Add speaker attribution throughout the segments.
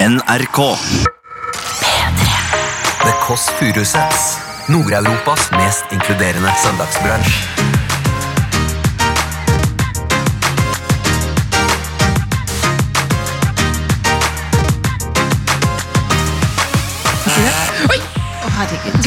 Speaker 1: NRK.
Speaker 2: The Kåss Furuseths. Nord-Europas mest inkluderende søndagsbransj.
Speaker 3: Å, herregud.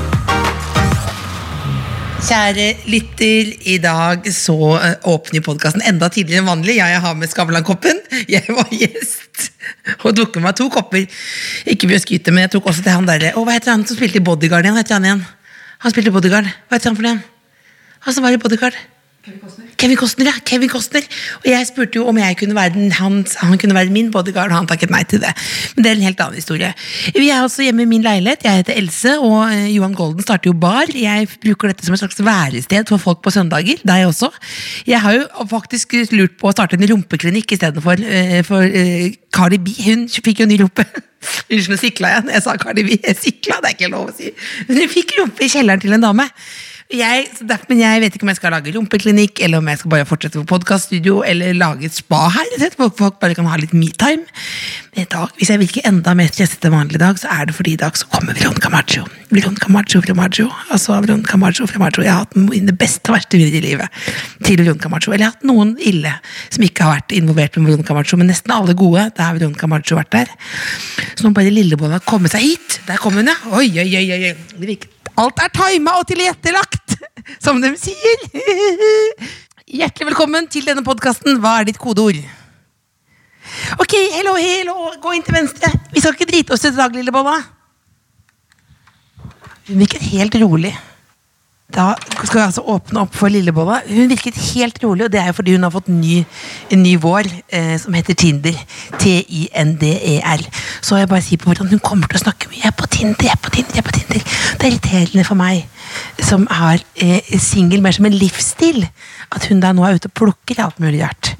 Speaker 4: Kjære lytter, i dag så eh, åpner podkasten enda tidligere enn vanlig. Jeg har med Skavlan-koppen. Jeg var gjest og tok med meg to kopper. Ikke mye å skryte, men jeg tok også til han derre Å, hva heter han som spilte i Bodyguard igjen? Hva heter han igjen? Han spilte i Bodyguard. Hva heter han for noe igjen? Han som var i Bodyguard. Kevin Costner, ja. Kevin Costner. Og jeg spurte jo om jeg kunne være den, hans, han kunne være min bodyguard, og han takket nei til det. Men det er en helt annen historie. Vi er altså hjemme i min leilighet. Jeg heter Else, og eh, Johan Golden starter jo bar. Jeg bruker dette som et slags værested for folk på søndager. Deg også. Jeg har jo faktisk lurt på å starte en rumpeklinikk istedenfor eh, for eh, Cardi B. Hun fikk jo ny rumpe. Unnskyld, nå sikla jeg. Når jeg sa Cardi B, jeg sikla, det er ikke lov å si. Men hun fikk rumpe i kjelleren til en dame. Jeg, så derfor, men jeg vet ikke om jeg skal lage rumpeklinikk, eller om jeg skal bare fortsette på podcaststudio, eller lage et spa her, rett og slett, hvor folk bare kan ha litt me-time. Men i dag, hvis jeg virker enda mer stresset enn vanlig i dag, så er det fordi i dag så kommer Veronica Maggio. Veronica Maggio fra Maggio. Altså Veronica Maggio fra Maggio. Jeg har hatt noen- det beste og verste videre i livet til Veronica Maggio. Eller jeg har hatt noen ille som ikke har vært involvert med Veronica Maggio, men nesten alle gode, da har Veronica Maggio vært der. Så nå bare Lillebånd har kommet seg hit. Der kom hun, ja. Oi, oi, oi, oi. oi. Det virker Alt er tima og tilrettelagt, som de sier. Hjertelig velkommen til denne podkasten. Hva er ditt kodeord? Ok, hello, hello. Gå inn til venstre. Vi skal ikke drite oss ut i dag, lille Bolla. Hun virket helt rolig. Da skal vi altså åpne opp for Lillebolla. Hun virket helt rolig, og det er jo fordi hun har fått ny, en ny vår eh, som heter Tinder. T-I-N-D-E-R. E Så jeg bare sier på hvordan hun kommer til å snakke mye. Jeg er på Tinder, jeg er på Tinder, jeg er på Tinder. Det er irriterende for meg som har eh, singel mer som en livsstil, at hun der nå er ute og plukker alt mulig rart.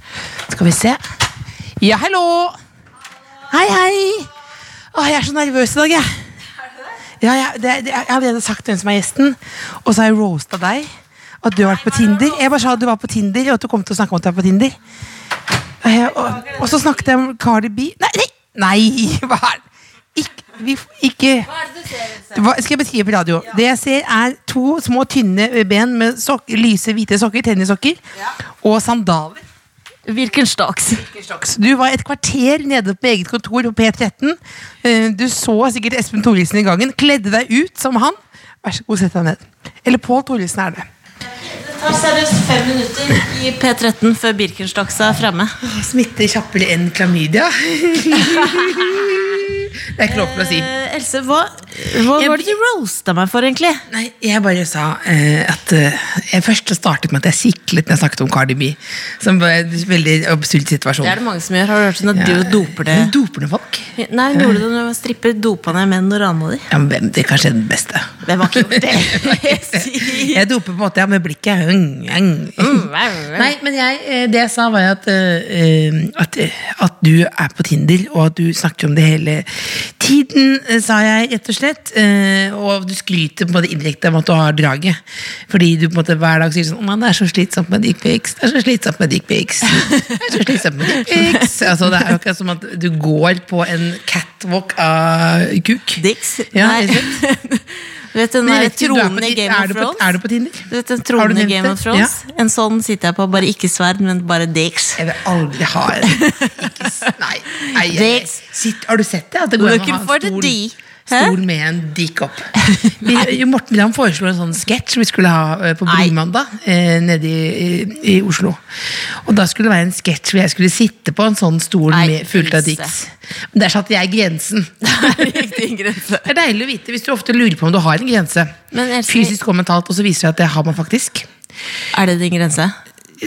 Speaker 4: Skal vi se. Ja, hallo! Hei, hei! Å, jeg er så nervøs i dag, jeg. Ja, ja, det, det, jeg har allerede sagt hvem som er gjesten, og så har jeg roasta deg. At du har vært på Tinder. Jeg bare sa at du var på Tinder, og at du kom til å snakke om at du er på Tinder. Eh, Og, og så snakket jeg om Cardi B. Nei, nei, nei hva er Ikke, vi, f- ikke hva skal jeg beskrive på radio? Det jeg ser, er to små, tynne ben med sok lyse, hvite sokker, tennissokker, og sandaler.
Speaker 3: Hvilken slags?
Speaker 4: Slags. Du var et kvarter nede på eget kontor på P13. Eh, Du så sikkert Espen Thoresen i gangen. Kledde deg ut som han. Vær så god, sett deg ned. Eller Pål Thoresen er det.
Speaker 3: Det tar seriøst fem minutter i P13 før Birkenstocks er fremme.
Speaker 4: Smitter kjappere enn klamydia. Det er ikke lov til å si.
Speaker 3: Eh, Else, hva, hva
Speaker 4: Jeg-
Speaker 3: var det du roasta meg for, egentlig?
Speaker 4: Nei, jeg bare sa eh, at eh, Jeg først startet med at jeg siklet når jeg snakket om Cardi B. Som var en veldig absurd situasjon.
Speaker 3: Det er det mange som gjør. Har du hørt sånn at
Speaker 4: Ja.
Speaker 3: du doper det?
Speaker 4: Hun doper ned folk.
Speaker 3: Nei, hun gjorde det når hun stripper dopa ned menn og rana de.
Speaker 4: Ja, men hvem? Det er kanskje den beste.
Speaker 3: Hvem har ikke gjort det?
Speaker 4: Jeg doper på en måte ja, med blikket. Ung, ung.
Speaker 3: Mm,
Speaker 4: Nei, men jeg, eh, det jeg sa var jo at, eh, eh, at, eh, at du er på Tinder, og at du snakker om det hele tiden, eh, sa jeg rett og slett. Eh, Og du skryter på en måte indirekte om at du har draget. Fordi du på en måte hver dag sier sånn Å, det er så slitsomt med dickpics. Det er så slitsomt med dickpics. Det er så slitsomt med dickpics. Altså, det er jo akkurat som at du går på en catwalk av kuk.
Speaker 3: Dicks?
Speaker 4: Ja,
Speaker 3: Nei.
Speaker 4: rett og
Speaker 3: Du vet den
Speaker 4: Men jeg
Speaker 3: der
Speaker 4: vet ikke, du er på
Speaker 3: tronen i
Speaker 4: Tin-
Speaker 3: Game
Speaker 4: er
Speaker 3: of
Speaker 4: du på-
Speaker 3: Thrones?
Speaker 4: er du på Tinder?
Speaker 3: Du vet den
Speaker 4: Har du
Speaker 3: tronen i
Speaker 4: nevnt
Speaker 3: Game
Speaker 4: det?
Speaker 3: of Thrones? En sånn sitter jeg på, bare ikke sverd, men bare dicks.
Speaker 4: Jeg vil aldri ha en ikke, s- Nei. nei jeg,
Speaker 3: Dick.
Speaker 4: sitt, har du sett det? At det går an
Speaker 3: Looking
Speaker 4: å ha
Speaker 3: for
Speaker 4: en
Speaker 3: the
Speaker 4: stol,
Speaker 3: D. Hæ?
Speaker 4: stol med en dick opp. Vi, Morten Ramm foreslo en sånn sketsj vi skulle ha eh, på
Speaker 3: Nei.
Speaker 4: Brumandag eh, nede i, i, i Oslo. Og da skulle det være en sketsj hvor jeg skulle sitte på en sånn stol
Speaker 3: Nei,
Speaker 4: med, fullt av
Speaker 3: Else.
Speaker 4: dicks. Men der satte jeg grensen.
Speaker 3: Riktig grense.
Speaker 4: Det er deilig å vite hvis du ofte lurer på om du har en grense.
Speaker 3: Men Else-
Speaker 4: Fysisk og mentalt, og så viser det at det har man faktisk.
Speaker 3: Er det din grense?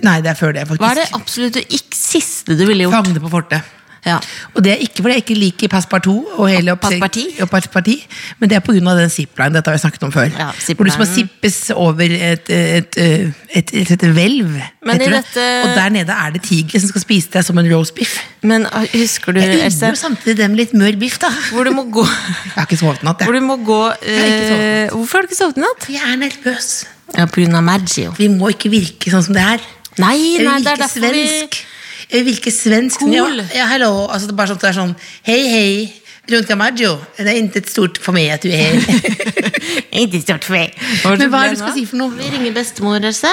Speaker 4: Nei, det er før det, faktisk.
Speaker 3: Hva er det absolutt du ikke siste du ville gjort?
Speaker 4: Fagne på fortet.
Speaker 3: Ja.
Speaker 4: Og det er ikke fordi jeg ikke liker Passepartout og hele
Speaker 3: Og
Speaker 4: oppseg-
Speaker 3: Passeparti.
Speaker 4: og Passeparti, men det er pga. den zipline. Dette har vi snakket om før.
Speaker 3: Ja,
Speaker 4: hvor du skal
Speaker 3: ziplinen.
Speaker 4: sippes over et, et, et, et, et, et hvelv.
Speaker 3: Men
Speaker 4: heter
Speaker 3: i
Speaker 4: det.
Speaker 3: dette-
Speaker 4: Og der nede er det tigre som skal spise deg som en roast beef.
Speaker 3: Men ah, husker du,
Speaker 4: Jeg
Speaker 3: Else,
Speaker 4: unner jo samtidig dem litt mør biff, da.
Speaker 3: hvor du må gå
Speaker 4: Jeg har ikke sovet i natt,
Speaker 3: Hvor
Speaker 4: jeg.
Speaker 3: du må gå
Speaker 4: har ikke sovet i
Speaker 3: eh, Hvorfor har du ikke sovet i natt?
Speaker 4: Jeg er nervøs.
Speaker 3: Ja, på grunn av Maggio.
Speaker 4: Vi må ikke virke sånn som det er.
Speaker 3: Nei,
Speaker 4: Jeg vil
Speaker 3: nei, det er
Speaker 4: virke
Speaker 3: derfor vi
Speaker 4: svensk. Jeg vil virke svensk.
Speaker 3: Cool.
Speaker 4: Ja, ja, hello. Altså, det er bare sånn at det er sånn Hei, hei. Runka Maggio. Det er intet stort for meg at du er her.
Speaker 3: Ikke stort for meg.
Speaker 4: Men hva er det du skal si for noe?
Speaker 3: Vi ringer bestemor, Else.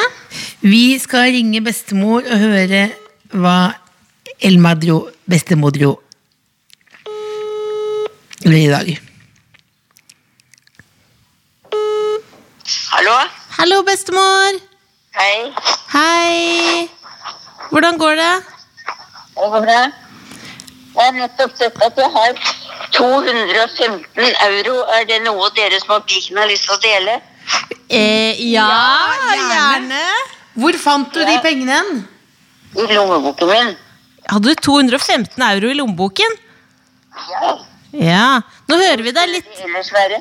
Speaker 4: Vi skal ringe bestemor og høre hva El Madro Bestemodro gjør i dag.
Speaker 1: Hallo?
Speaker 3: Hallo, bestemor.
Speaker 1: Hei.
Speaker 3: Hei. Hvordan går det?
Speaker 1: Det går bra. Jeg har nettopp sett at jeg har 215 euro. Er det noe dere små pikene har lyst til å dele?
Speaker 3: Eh, ja,
Speaker 4: gjerne. Hvor fant du de pengene hen?
Speaker 1: I lommeboken min.
Speaker 3: Hadde du 215 euro i lommeboken?
Speaker 1: Ja.
Speaker 3: Ja. Nå hører vi deg litt,
Speaker 1: vil Ellers være.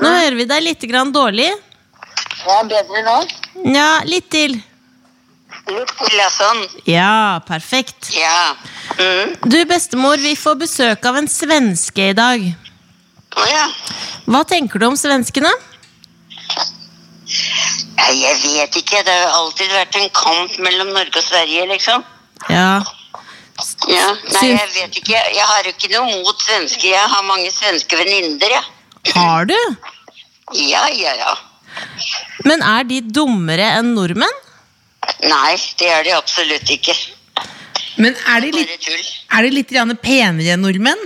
Speaker 3: nå hører vi deg litt grann dårlig.
Speaker 1: Det er bedre nå.
Speaker 3: Ja, litt til.
Speaker 1: Litt til, ja, sånn.
Speaker 3: Ja, perfekt.
Speaker 1: Ja. Mm.
Speaker 3: Du, bestemor, vi får besøk av en svenske i dag.
Speaker 1: Å ja.
Speaker 3: Hva tenker du om svenskene?
Speaker 1: Nei, Jeg vet ikke. Det har jo alltid vært en kamp mellom Norge og Sverige, liksom.
Speaker 3: Ja.
Speaker 1: Ja. Nei,
Speaker 3: Syns-
Speaker 1: jeg vet ikke. Jeg har jo ikke noe mot svensker. Jeg har mange svenske venninner, jeg.
Speaker 3: Har du?
Speaker 1: Ja, ja, ja.
Speaker 3: Men er de dummere enn nordmenn?
Speaker 1: Nei, det er det absolutt ikke.
Speaker 4: Men er de
Speaker 1: Bare
Speaker 4: litt,
Speaker 1: tull.
Speaker 4: er de litt grann penere enn nordmenn?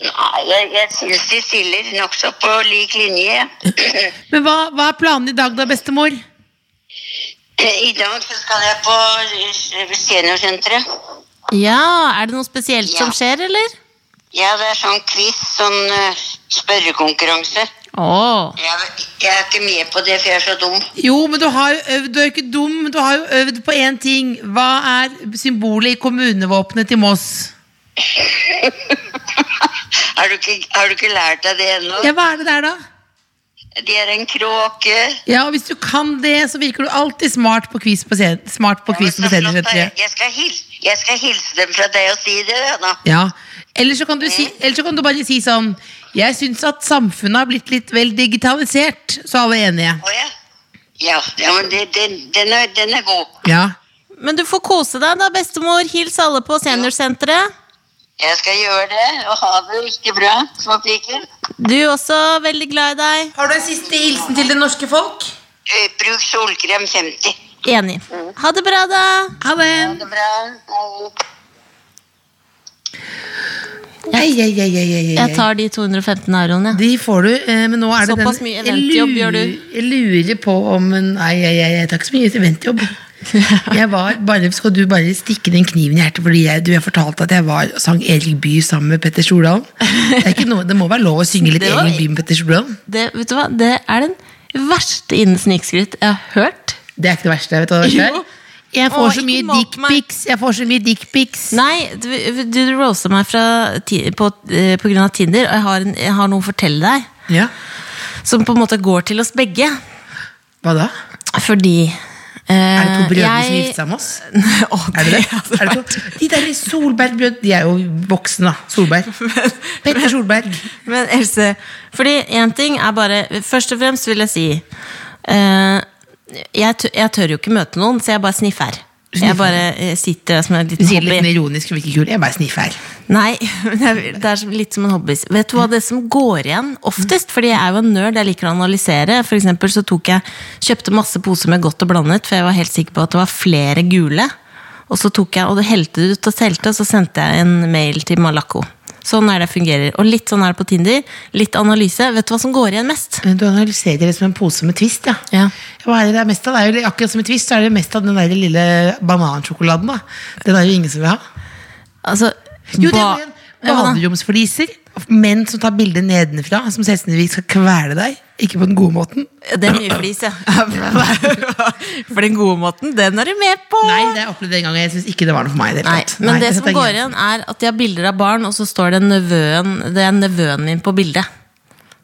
Speaker 1: Nei, jeg, jeg syns de stiller nokså på lik linje.
Speaker 4: Men hva, hva er planen i dag da, bestemor?
Speaker 1: I dag så skal jeg på eh, seniorsenteret.
Speaker 3: Ja, er det noe spesielt som
Speaker 1: Ja.
Speaker 3: skjer, eller?
Speaker 1: Ja, det er sånn quiz, sånn eh, spørrekonkurranse.
Speaker 3: Åh.
Speaker 1: Jeg, jeg er ikke med på det, for jeg er så dum.
Speaker 4: Jo, men du har jo øvd, du er jo ikke dum, men du har jo øvd på én ting. Hva er symbolet i kommunevåpenet til Moss?
Speaker 1: Har du ikke, har du ikke lært deg det ennå?
Speaker 4: Ja, hva er det der, da?
Speaker 1: Det er en kråke.
Speaker 4: Ja, og Hvis du kan det, så virker du alltid smart på quiz på, sen smart på, quiz
Speaker 1: Ja,
Speaker 4: på
Speaker 1: men så flott, da.
Speaker 4: seniorsenteret.
Speaker 1: Jeg skal, hilse, jeg skal hilse dem fra deg og si det, da, da.
Speaker 4: Ja. Eller så, kan du si, eller så kan du bare si sånn Jeg syns at samfunnet har blitt litt vel digitalisert, så alle er enige.
Speaker 1: Å ja? Ja, ja men det, den, den, er, den er god.
Speaker 4: Ja.
Speaker 3: Men du får kose deg da, bestemor. Hils alle på seniorsenteret.
Speaker 1: Jeg skal gjøre det, og ha det riktig bra, små piker.
Speaker 3: Du også, veldig glad i deg.
Speaker 4: Har du en siste hilsen til det norske folk?
Speaker 1: Eh, Bruk solkrem 50.
Speaker 3: Enig. Ha det bra, da.
Speaker 4: Ha det.
Speaker 1: Ha det bra. Hei.
Speaker 4: Ei, ei, ei, ei, ei, ei.
Speaker 3: Jeg tar de 215 euroene. jeg.
Speaker 4: De får du, eh, men nå er det
Speaker 3: Såpass mye eventjobb gjør du.
Speaker 4: Jeg lurer på om en- Nei, jeg, jeg, jeg tar ikke så mye eventjobb. Jeg var bare, Skal du bare stikke den kniven i hjertet fordi jeg, du har fortalt at jeg var og sang Erik Bye sammen med Petter Stordalen? Det, er ikke noe, det må være lov å synge litt
Speaker 3: Det var-
Speaker 4: Erik Bye med Petter Stordalen?
Speaker 3: Det, vet du hva? det er den verste innen snikskryt jeg har hørt.
Speaker 4: Det er ikke det verste. Vet du hva det verste
Speaker 3: Jo.
Speaker 4: er? Jeg får
Speaker 3: Åh,
Speaker 4: så
Speaker 3: ikke
Speaker 4: mye
Speaker 3: mat meg.
Speaker 4: dickpics. Jeg får så mye dickpics.
Speaker 3: Nei, du, du rosa meg fra, ti- på, eh, på grunn av Tinder, og jeg har, en, jeg har noe å fortelle deg.
Speaker 4: Ja.
Speaker 3: Som på en måte går til oss begge.
Speaker 4: Hva da?
Speaker 3: Fordi eh,
Speaker 4: Er det to brødre som gifter seg med oss? Er det det? Er det to? De der Solberg-brødrene De er jo voksne, da. Solberg. Petter Solberg.
Speaker 3: Men Else, fordi en ting er bare Først og fremst vil jeg si eh, jeg, tør, jeg tør jo ikke møte noen, så jeg bare sniffer. Jeg bare eh, sitter der som en
Speaker 4: Du
Speaker 3: liten
Speaker 4: sier det litt
Speaker 3: hobby.
Speaker 4: mer ironisk, men ikke kul. Jeg bare sniffer her.
Speaker 3: Nei, men jeg- det er som, litt som en hobby. Vet du hva det som går igjen oftest? Fordi jeg er jo en nerd, jeg liker å analysere. For eksempel så tok jeg, kjøpte masse poser med godt og blandet, for jeg var helt sikker på at det var flere gule. Og så tok jeg, og det helte det ut og telte, og så sendte jeg en mail til Malakko. Sånn er det jeg fungerer. Og litt sånn er det på Tinder. Litt analyse. Vet du hva som går igjen mest?
Speaker 4: Du analyserer det som en pose med Twist, ja.
Speaker 3: Ja.
Speaker 4: Hva er det det er mest av? Det er jo akkurat som i Twist, så er det mest av den der lille banansjokoladen, da. Den er jo ingen som vil ha.
Speaker 3: Altså,
Speaker 4: Jo, det
Speaker 3: ba-
Speaker 4: er jo en
Speaker 3: Ja, hva da?
Speaker 4: baderomsfliser. menn som tar bilder nedenfra, som selvstendigvis skal kvele deg. Ikke på den gode måten.
Speaker 3: Det er mye flis, ja. For den gode måten, den er du med på!
Speaker 4: Nei, det har jeg opplevd en gang, og jeg syns ikke det var noe for meg. i det hele
Speaker 3: Nei,
Speaker 4: tatt.
Speaker 3: men
Speaker 4: Nei,
Speaker 3: det
Speaker 4: jeg
Speaker 3: som
Speaker 4: synes
Speaker 3: går
Speaker 4: er-
Speaker 3: igjen, er at de har bilder av barn, og så står det nevøen Det er nevøen min på bildet.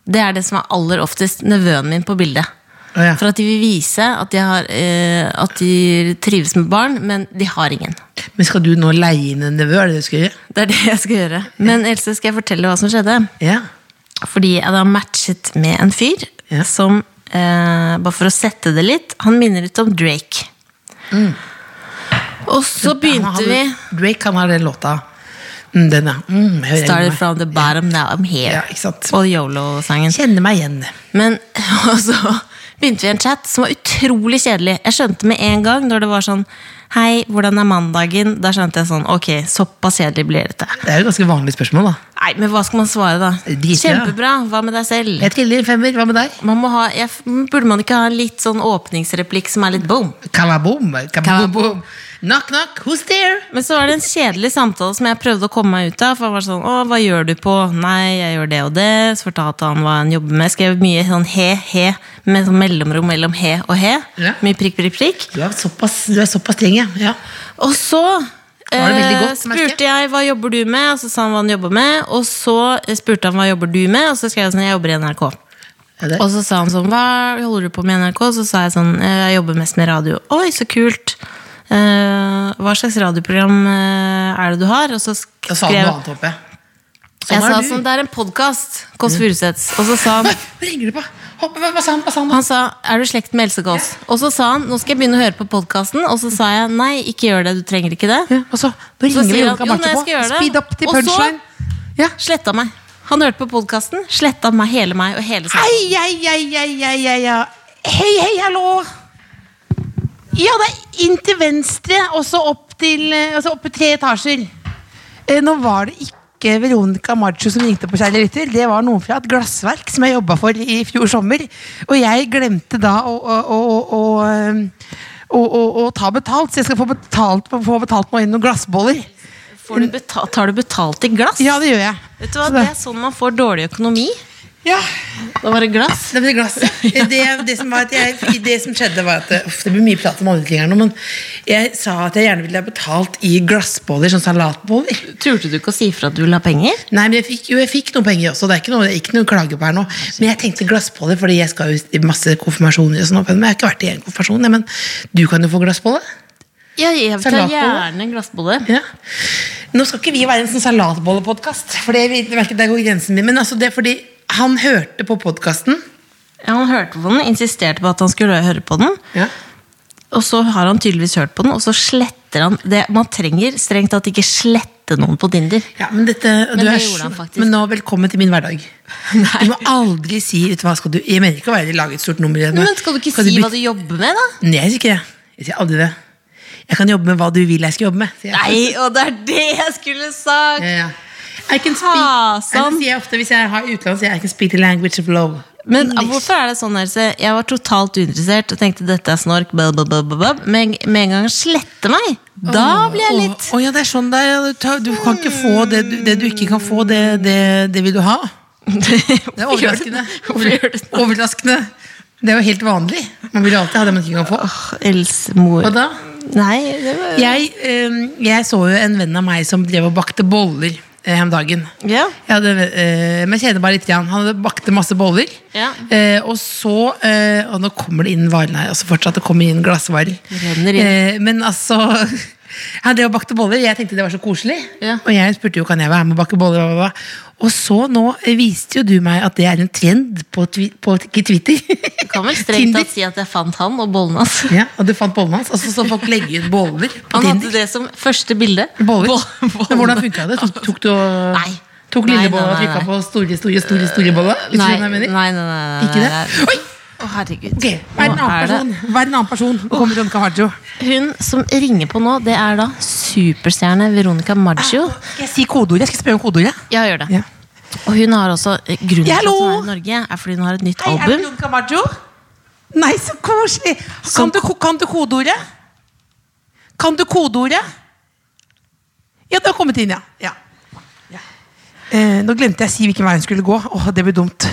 Speaker 3: Det er det som er aller oftest nevøen min på bildet.
Speaker 4: Å, ja.
Speaker 3: For at de vil vise at de, har, eh, at de trives med barn, men de har ingen.
Speaker 4: Men skal du nå leie inn en nevø? Er det det du skal gjøre?
Speaker 3: Det er det jeg skal gjøre. Men Else, skal jeg fortelle hva som skjedde?
Speaker 4: Ja.
Speaker 3: Fordi jeg da matchet med en fyr
Speaker 4: Ja.
Speaker 3: som, eh, bare for å sette det litt, han minner litt om Drake. Og så begynte vi
Speaker 4: Mm. Han har- Drake kan ha den låta. Mm, den, ja. Mm, hører jeg
Speaker 3: Started
Speaker 4: meg.
Speaker 3: from the bottom, now I'm here.
Speaker 4: Ja, ikke sant.
Speaker 3: Og Yolo-sangen.
Speaker 4: Kjenner meg igjen.
Speaker 3: Men og så begynte vi en chat som var utrolig kjedelig. Jeg skjønte med en gang når det var sånn Hei, hvordan er mandagen? Da skjønte jeg sånn Ok, såpass kjedelig blir dette.
Speaker 4: Det er jo ganske vanlig spørsmål, da.
Speaker 3: Nei, men hva skal man svare, da?
Speaker 4: Drit i det, da.
Speaker 3: Kjempebra. Hva med deg selv?
Speaker 4: Jeg triller femmer. Hva med deg?
Speaker 3: Man må ha, jeg, burde man ikke ha en litt sånn åpningsreplikk som er litt boom?
Speaker 4: Kalaboom. Kalaboom. Knock, knock. Who's there?
Speaker 3: Men så var det en kjedelig samtale som jeg prøvde å komme meg ut av. For han var sånn, å, hva gjør du på? Nei, jeg gjør det og det. Så fortalte han hva han jobber med. Skrev mye sånn he, he, med sånn mellomrom mellom he og he.
Speaker 4: Ja.
Speaker 3: Mye prikk, prikk, prikk.
Speaker 4: Du er såpass, du er såpass streng, ja. ja.
Speaker 3: Og så
Speaker 4: var det veldig
Speaker 3: eh,
Speaker 4: godt, merker jeg.
Speaker 3: spurte jeg hva jobber du med, og så sa han hva han jobber med. Og så eh, spurte han hva jobber du med, og så skrev jeg sånn, jeg jobber i NRK.
Speaker 4: Er det?
Speaker 3: Og så sa han sånn, hva holder du på med i NRK? Så sa jeg sånn, «Eh, jeg jobber mest med radio. Oi, så kult! Eh, hva slags radioprogram eh, er det du har? Og så sk-
Speaker 4: Da sa du noe annet, håper jeg.
Speaker 3: jeg
Speaker 4: er
Speaker 3: sa
Speaker 4: du.
Speaker 3: sånn, det er en podkast, Kåss Furuseths. Og så sa
Speaker 4: Hva
Speaker 3: han,
Speaker 4: hva ringer du på? Hopp, hva, hva sa han? Hva sa han da?
Speaker 3: han sa, er du slekt med Else Kåss? Og så sa han, nå skal jeg begynne å høre på podkasten. Og så sa jeg, nei, ikke gjør det, du trenger ikke det.
Speaker 4: Ja, og så, da
Speaker 3: Så
Speaker 4: ringer vi
Speaker 3: sier
Speaker 4: Monica
Speaker 3: han, jo,
Speaker 4: Marte
Speaker 3: nei, jeg
Speaker 4: på.
Speaker 3: skal gjøre det.
Speaker 4: Speed up til
Speaker 3: Og så-
Speaker 4: punchline. Ja.
Speaker 3: Sletta meg. Han hørte på podkasten, sletta meg, hele meg og hele seg.
Speaker 4: Ei, ei, ei, ei, ei, ei, ja. Hei, hei, hallo. Ja, det er inn til venstre, og så opp til eh, altså opp i tre etasjer. Eh, nå var det ikke Veronica Maggio som ringte på, kjære lytter. Det var noen fra et glassverk som jeg jobba for i fjor sommer. Og jeg glemte da å, å, å, å, å eh, å, å, å ta betalt, så jeg skal få betalt, få betalt meg inn noen glassboller.
Speaker 3: Får du beta- tar du betalt i glass?
Speaker 4: Ja, det gjør jeg.
Speaker 3: Vet du hva,
Speaker 4: Så
Speaker 3: Det
Speaker 4: da-
Speaker 3: er sånn man får dårlig økonomi.
Speaker 4: Ja,
Speaker 3: Da var det glass.
Speaker 4: Det ble glass. Det, det, som var at jeg, det som skjedde, var at uff, Det blir mye prat om andre ting her nå, men jeg sa at jeg gjerne ville ha betalt i glassboller, sånn salatboller.
Speaker 3: Turte du ikke å si ifra at du ville ha penger?
Speaker 4: Nei, men jeg fikk, jo, jeg fikk noen penger også, det er ikke noe, det er ikke noe å klage på her nå. Men jeg tenkte glassboller, fordi jeg skal jo i masse konfirmasjoner og sånn. opp igjennom. Jeg har ikke vært i en konfirmasjon, jeg, men du kan jo få glassbolle.
Speaker 3: Ja, jeg vil ta
Speaker 4: Salatbolle?
Speaker 3: gjerne en glassbolle.
Speaker 4: Ja. Nå skal ikke vi være en sånn salatbollepodkast, for det, det, merker- der går grensen min. Men altså, det er fordi han hørte på podkasten.
Speaker 3: Ja, Han hørte på den, insisterte på at han skulle høre på den.
Speaker 4: Ja.
Speaker 3: Og så har han tydeligvis hørt på den, og så sletter han det. Man trenger strengt tatt ikke slette noen på Tinder.
Speaker 4: Ja, men dette, du
Speaker 3: det
Speaker 4: er
Speaker 3: gjorde
Speaker 4: så-
Speaker 3: han faktisk.
Speaker 4: Men nå velkommen til min hverdag. Du må aldri si vet du hva, skal du, Jeg mener ikke å være lage et stort nummer. i det,
Speaker 3: Men skal du ikke si hva du jobber med, da?
Speaker 4: Nei, jeg sier ikke det. Jeg sier aldri det. Jeg kan jobbe med hva du vil jeg skal jobbe med. sier jeg.
Speaker 3: Nei, og det er det jeg skulle
Speaker 4: Ja,
Speaker 3: sagt!
Speaker 4: ja. I can speak
Speaker 3: Ha,
Speaker 4: Jeg
Speaker 3: sånn.
Speaker 4: sier jeg ofte Hvis jeg har utlandet, sier jeg I can speak the language of love.
Speaker 3: Men
Speaker 4: English.
Speaker 3: hvorfor er det sånn, Else? Jeg var totalt uinteressert og tenkte dette er snork, blah, blah, blah, blah, blah. men med en gang han sletter meg, da blir jeg litt
Speaker 4: Å å, ja, det er sånn det er. ja, Du, tar- du kan ikke få det du, det du ikke kan få, det, det, det vil du ha. Det er
Speaker 3: Hvorfor gjør du
Speaker 4: overraskende.
Speaker 3: det? Hvorfor gjør du det?
Speaker 4: Overraskende. Det er jo helt vanlig. Man vil jo alltid ha det man ikke kan få.
Speaker 3: Åh, Else, mor.
Speaker 4: Hva da?
Speaker 3: Nei, det var
Speaker 4: Jeg, eh, jeg så jo en venn av meg som drev og bakte boller eh, om dagen.
Speaker 3: Ja.
Speaker 4: Jeg hadde, eh, men jeg kjenner bare litt igjen. Han hadde bakte masse boller.
Speaker 3: Ja.
Speaker 4: Eh, og så eh, Og nå kommer det inn varer her. Altså fortsatt det kommer inn glassvarer.
Speaker 3: renner inn.
Speaker 4: Eh, men altså Han drev og bakte boller. Jeg tenkte det var så koselig.
Speaker 3: Ja.
Speaker 4: Og jeg spurte jo kan jeg være med og bakke boller. Bla, bla, bla. Og så nå eh, viste jo du meg at det er en trend på, twi på ikke Twitter.
Speaker 3: Du kan vel strengt
Speaker 4: Tinder.
Speaker 3: tatt si at jeg fant han og bollen hans.
Speaker 4: ja, og du fant bollen hans. Og så så folk legge ut boller på
Speaker 3: Han hadde
Speaker 4: Tinder.
Speaker 3: det som første bilde.
Speaker 4: Boller?
Speaker 3: Boll- boll-
Speaker 4: Men hvordan funka det? Tok, tok du og-
Speaker 3: Nei.
Speaker 4: Tok
Speaker 3: Nei,
Speaker 4: lille
Speaker 3: nei,
Speaker 4: bolla og
Speaker 3: nei,
Speaker 4: trykka
Speaker 3: nei.
Speaker 4: på store, store, store store bolla? Hvis du
Speaker 3: Nei,
Speaker 4: skjønner hva jeg
Speaker 3: nei,
Speaker 4: mener?
Speaker 3: nei, nei, nei.
Speaker 4: Ikke det?
Speaker 3: nei.
Speaker 4: Oi!
Speaker 3: Å, herregud.
Speaker 4: Ok, Vær en
Speaker 3: Nå
Speaker 4: annen
Speaker 3: er det-
Speaker 4: person. Vær en annen person. Nå kommer Veronica Maggio.
Speaker 3: Hun som ringer på nå, det er da superstjerne Veronica Maggio.
Speaker 4: Skal jeg si kodeordet? Jeg skal spørre om kodeordet.
Speaker 3: Ja, gjør det.
Speaker 4: Ja.
Speaker 3: Og hun har også eh, Grunnen til at
Speaker 4: Hallo!
Speaker 3: hun er i Norge, er fordi hun har et nytt
Speaker 4: Hei, er det
Speaker 3: album.
Speaker 4: Veronica Maggio? Nei, så koselig! Kan
Speaker 3: Som-
Speaker 4: du, kan du kodeordet? Kan du kodeordet? Ja, det har kommet inn, ja. ja. ja. Eh, nå glemte jeg å si hvilken vei hun skulle gå. Åh, det ble dumt.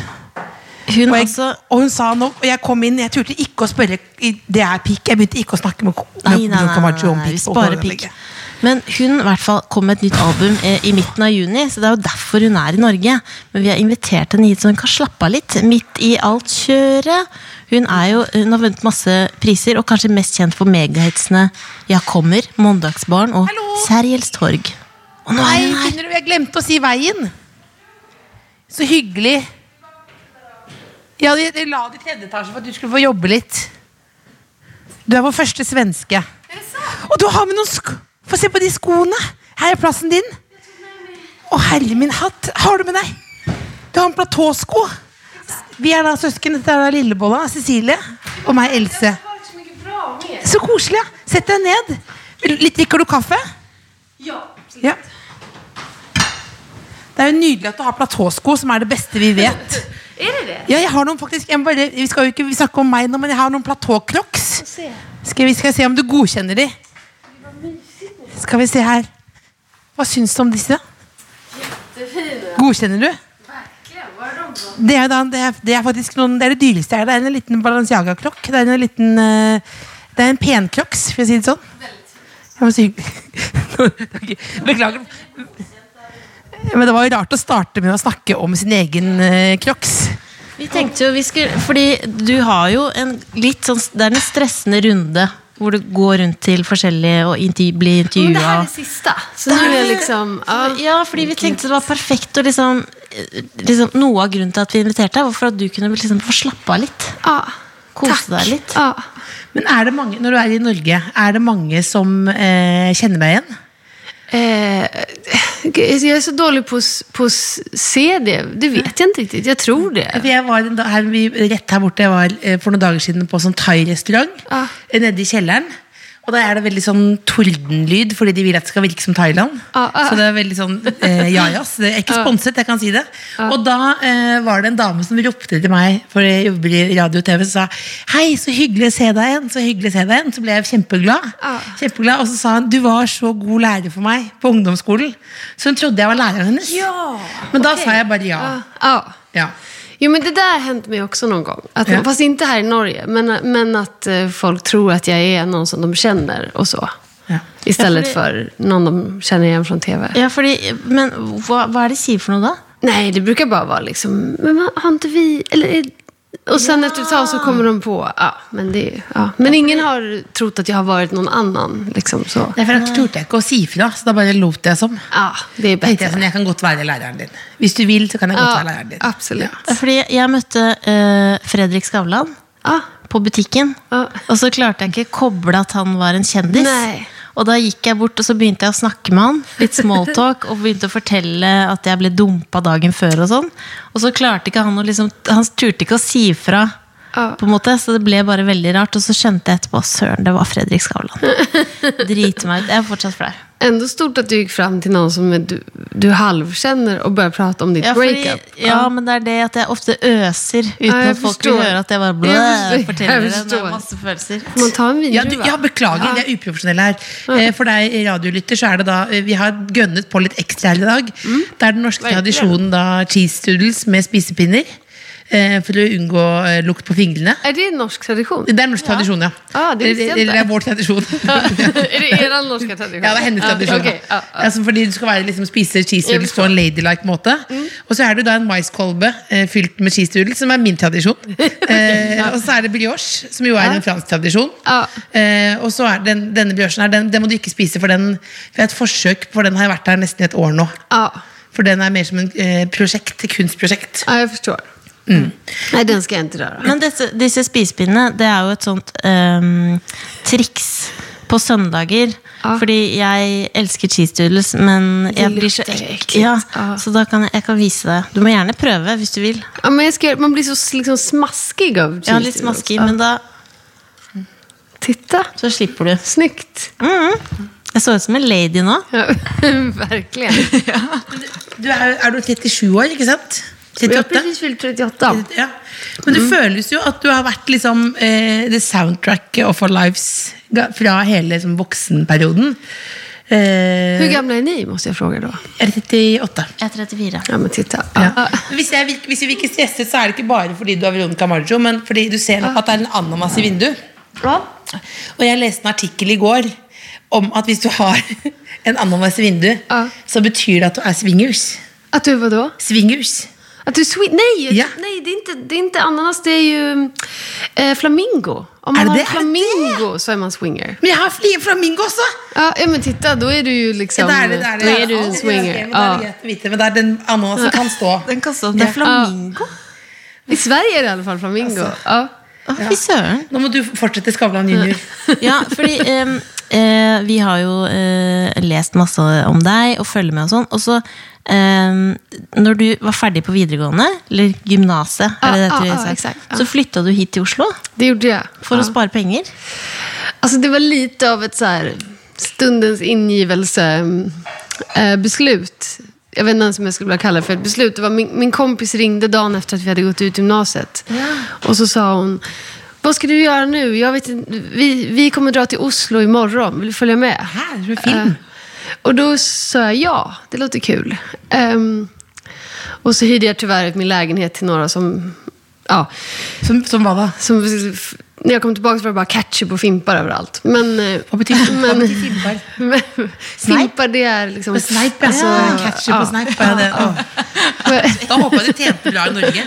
Speaker 3: Hun
Speaker 4: Og,
Speaker 3: altså-
Speaker 4: jeg,
Speaker 3: også
Speaker 4: og hun sa nok, og jeg kom inn, jeg turte ikke å spørre i- Det er pikk. Jeg begynte ikke å snakke med, med
Speaker 3: Nei, nei, nei,
Speaker 4: med Camacho
Speaker 3: nei,
Speaker 4: om
Speaker 3: nei, vi
Speaker 4: pikk. på
Speaker 3: sparer
Speaker 4: Bordanlegget.
Speaker 3: pikk. Men hun i hvert fall kom med et nytt album eh, i midten av juni, så det er jo derfor hun er i Norge. Men vi har invitert henne hit så hun kan slappe av litt midt i alt kjøret. Hun, er jo, hun har vunnet masse priser, og kanskje mest kjent for megahitsene Ja kommer, Mandagsbarn og
Speaker 4: Hallo!
Speaker 3: Sergels torg. Og nå er
Speaker 4: Nei,
Speaker 3: hun her!
Speaker 4: finner du, jeg glemte å si veien. Så hyggelig. Ja, de, de la det i tredje etasje for at du skulle få jobbe litt. Du er vår første svenske. Og du har med noen sko. Få se på de skoene. Her er plassen din. Å, herre min hatt. Har du med deg? Du har en platåsko. Vi er da søsken. Dette er da Lillebolla, Cecilie og meg, Else. Så koselig. ja. Sett deg ned. Litt, drikker du kaffe? Ja. Det er jo nydelig at du har platåsko, som er det beste vi vet.
Speaker 5: Er det det?
Speaker 4: Ja, jeg har noen faktisk jeg må bare, Vi skal jo ikke snakke om meg nå, men jeg har noen platåcrocs. Skal vi skal se om du godkjenner de. Skal vi se her. Hva syns du om disse? Godkjenner du? Det er, da, det, er, det er faktisk noen Det er det dyreste jeg har. Det er en liten Balenciaga-klokk. Det er en liten eh, Det er en penkroks, for å si det sånn. Det var så hyggelig. Beklager. Men det var jo rart å starte med å snakke om sin egen eh, crocs.
Speaker 3: Vi tenkte jo vi skulle Fordi du har jo en litt sånn Det er en stressende runde hvor du går rundt til forskjellige og intervju, blir
Speaker 5: Men det her
Speaker 3: intervjua.
Speaker 5: er det siste. Så nå er det liksom ja.
Speaker 3: Ja, fordi vi tenkte det var perfekt å liksom, eh, liksom Noe av grunnen til at vi inviterte deg, var for at du kunne liksom få slappe av litt.
Speaker 5: Ja.
Speaker 3: Kose
Speaker 5: Takk.
Speaker 3: deg litt.
Speaker 5: Ja.
Speaker 4: Men er det mange, når du er i Norge, er det mange som eh, kjenner deg igjen?
Speaker 5: Eh, jag är så dålig på att på att se det. Det vet jag inte riktigt. Jag tror det.
Speaker 4: For jeg var en dag, her, vi, rett her borte, jeg var eh, for noen dager siden på sånn thai-restaurant
Speaker 5: Ah.
Speaker 4: eh, nede i kjelleren. Og da er det veldig sånn tordenlyd, fordi de vil at det skal virke som Thailand.
Speaker 5: Ah, ah.
Speaker 4: Så det er veldig sånn eh, jajas. Det er ikke sponset, jeg kan si det.
Speaker 5: Ah.
Speaker 4: Og da eh, var det en dame som ropte til meg, for jeg jobber i radio og TV, og sa Hei, så hyggelig å se deg igjen. Så hyggelig å se deg igjen. Så ble jeg kjempeglad.
Speaker 5: Ah.
Speaker 4: Kjempeglad, Og så sa hun du var så god lærer for meg på ungdomsskolen. Så hun trodde jeg var læreren hennes. Men da sa jeg bare ja.
Speaker 5: Ja. ja.
Speaker 4: ja.
Speaker 5: Jo men det där har hänt mig också någon gång. Att,
Speaker 4: Ja.
Speaker 5: Fast inte här i Norge. Men, men att eh, folk tror att jag är någon som de känner och så.
Speaker 4: Ja.
Speaker 5: Istället
Speaker 3: Ja,
Speaker 5: för någon de känner igen från TV.
Speaker 3: Ja, fordi, men hva, hva er det de sier for noe da?
Speaker 5: Nej, det brukar bara vara liksom, men har inte vi... Eller, är- och sen efter ett tag så kommer de på, ja, men, det, ja. men ingen har trott att jag har varit någon annan. Liksom, så.
Speaker 4: Nei, for Da turte jeg ikke å si fra, så da bare lot jeg som.
Speaker 5: Ja, det är
Speaker 4: Da tenkte jeg
Speaker 5: bättre.
Speaker 4: sånn, jeg kan godt være læreren din. Hvis du vil, så kan jeg godt være læreren din.
Speaker 5: absolut.
Speaker 3: Ja, Fordi jeg møtte eh, Fredrik Skavlan
Speaker 5: Ja.
Speaker 3: på butikken.
Speaker 5: Ja.
Speaker 3: Og så klarte jeg ikke å koble at han var en kjendis.
Speaker 5: Nei.
Speaker 3: Og da gikk jeg bort og så begynte jeg å snakke med han. Litt smalltalk. Og begynte å fortelle at jeg ble dumpa dagen før og sånn. Og så klarte ikke han å liksom Han turte ikke å si fra.
Speaker 5: Ja.
Speaker 3: På en måte, så det ble bare veldig rart. Og så skjønte jeg etterpå søren, det var Fredrik Skavlan. Driter meg ut. Jeg er fortsatt flau.
Speaker 5: Ändå stort att du gick fram till någon som du, du halvkänner och började prata om ditt
Speaker 3: Ja, fordi,
Speaker 5: breakup.
Speaker 3: ja, men det er det at jeg ofte øser uten
Speaker 5: Ja, jeg
Speaker 3: at folk
Speaker 5: forstår.
Speaker 3: vil høre at jeg bare blå,
Speaker 5: Jeg forstår.
Speaker 3: forteller
Speaker 5: Jeg
Speaker 3: det. Det
Speaker 5: forstår.
Speaker 3: er masse følelser.
Speaker 5: Får Man tar en
Speaker 4: Ja,
Speaker 5: vindruva.
Speaker 4: du, ja, beklager, det er uprofesjonelle her. Eh, For deg radiolytter, så er det da eh, Vi har gønnet på litt ekstra her i dag. Det er den norske
Speaker 5: Virkelig.
Speaker 4: tradisjonen da cheese doodles med spisepinner. eh, For å unngå eh, lukt på fingrene.
Speaker 5: Är det en norsk tradition?
Speaker 4: Det er norsk tradisjon, ja.
Speaker 5: Ah, det visste
Speaker 4: Eller-
Speaker 5: jeg ikke.
Speaker 4: Eller det er vår tradisjon.
Speaker 5: är det er norska tradition?
Speaker 4: Ja, det er hennes tradisjon.
Speaker 5: okej, ja, ja.
Speaker 4: Altså, fordi du skal være, liksom, spise cheese doodles på en ladylike måte. Og så er det da en maiskolbe eh, fylt med cheese doodles, som er min tradisjon. Eh, og så er det brioche, som jo er en fransk tradisjon.
Speaker 5: Ja.
Speaker 4: Eh, og så er den, denne briochen her, den, den må du ikke spise, for den for jeg har et forsøk, for den har vært her nesten i et år nå.
Speaker 5: Ja.
Speaker 4: For den er mer som en eh, prosjekt, kunstprosjekt.
Speaker 5: Ja, jag förstår. Nej, den ska jag inte röra.
Speaker 3: Men disse, disse spisepinnene, det er jo et sånt ehm, triks på søndager.
Speaker 5: Ja.
Speaker 3: Fordi jeg elsker cheese doodles, men jeg blir så
Speaker 5: lukter
Speaker 3: ekkel.
Speaker 5: ekkelt. Ah.
Speaker 3: Ja,
Speaker 5: Ja.
Speaker 3: så da kan jeg, jeg kan vise deg. Du må gjerne prøve hvis du vil.
Speaker 5: Ja, men jag ska, göra- man blir så liksom smaskig av cheese
Speaker 3: Jeg har litt
Speaker 5: doodles. ah.
Speaker 3: smaskig,
Speaker 5: Ja.
Speaker 3: men da
Speaker 5: Titta,
Speaker 3: så slipper du.
Speaker 5: snyggt.
Speaker 3: Jeg så ut som en lady nå.
Speaker 5: Ja, verkligen.
Speaker 4: Du er, er du 37 år, ikke sant?
Speaker 5: Jag har
Speaker 4: 38?
Speaker 5: precis fyllt 38.
Speaker 4: Ja. Men det føles jo at du har vært liksom eh, the soundtrack of our lives ga- fra hele liksom, voksenperioden.
Speaker 5: Hur
Speaker 4: Eh,
Speaker 5: gamla är ni, måste jag fråga då?
Speaker 4: jeg er 38.
Speaker 3: Jeg er 34.
Speaker 5: Ja, men titta.
Speaker 4: Ja. Hvis, jeg, virk- hvis vi virker stresset, så er det ikke bare fordi du er Veronica Maggio, men fordi du ser nok at det er en ananas i vinduet. Og jeg leste en artikkel i går om at hvis du har en ananas i vinduet,
Speaker 5: Ja.
Speaker 4: så betyr det at du er swingers.
Speaker 5: Att du vadå?
Speaker 4: Swingers.
Speaker 5: Att du sweet... Nej,
Speaker 4: Ja.
Speaker 5: nej det, är inte, det är inte ananas, det är ju eh, flamingo. Om
Speaker 4: Är
Speaker 5: man
Speaker 4: det
Speaker 5: har
Speaker 4: det?
Speaker 5: en flamingo så är man swinger.
Speaker 4: Men jeg har flie flamingo også!
Speaker 5: Ja, ja, men titta, då är du ju
Speaker 4: Ja,
Speaker 5: liksom...
Speaker 4: det er det, det er det.
Speaker 5: Då är du
Speaker 4: Ja,
Speaker 5: en
Speaker 4: det er
Speaker 5: swinger.
Speaker 4: det, men det er
Speaker 5: Ja.
Speaker 4: greit å vite, Men det er den ananasen kan stå.
Speaker 3: Den kan stå Det er flamingo.
Speaker 5: I Sverige är det i alla fall flamingo. Ah. Ja.
Speaker 3: Å, Fy søren.
Speaker 4: Nå må du fortsette Skavlan junior.
Speaker 3: Ja, fordi em, eh, vi har jo eh, lest masse om deg og følger med og sånn. Og så em, når du var ferdig på videregående, eller gymnaset, er det det
Speaker 5: Ja,
Speaker 3: heter i
Speaker 5: ja, ja,
Speaker 3: USA,
Speaker 5: Ah, exakt, ja.
Speaker 3: så flytta du hit til Oslo
Speaker 5: Det gjorde jag.
Speaker 3: for
Speaker 5: ja.
Speaker 3: å spare penger.
Speaker 5: Alltså det var lite av ett så här, stundens ingivelse mm, eh, beslut. Jag vet inte ens om jag skulle vilja kalla det för ett beslut. Det var min, min kompis ringde dagen efter att vi hade gått ut gymnasiet. Och så sa hon, vad ska du göra nu? Jag vet inte, vi, vi kommer dra till Oslo imorgon, vill du följa med?
Speaker 4: Her, du er fin.
Speaker 5: Och då sa jag ja, det låter kul. Ehm, och så hyrde jag tyvärr ut min lägenhet till några som, ja,
Speaker 4: Som, som hva da?
Speaker 5: som, när jag kom tillbaka så var det bara ketchup och fimpar överallt. Men, eh,
Speaker 4: Hva betyr, hva
Speaker 5: men-
Speaker 4: betyr fimpar?
Speaker 5: men- Fimpar, det er liksom
Speaker 4: Snipe, altså. Ketchup og snipe. Ja, det, å. Da håper jeg du tjente bra i Norge.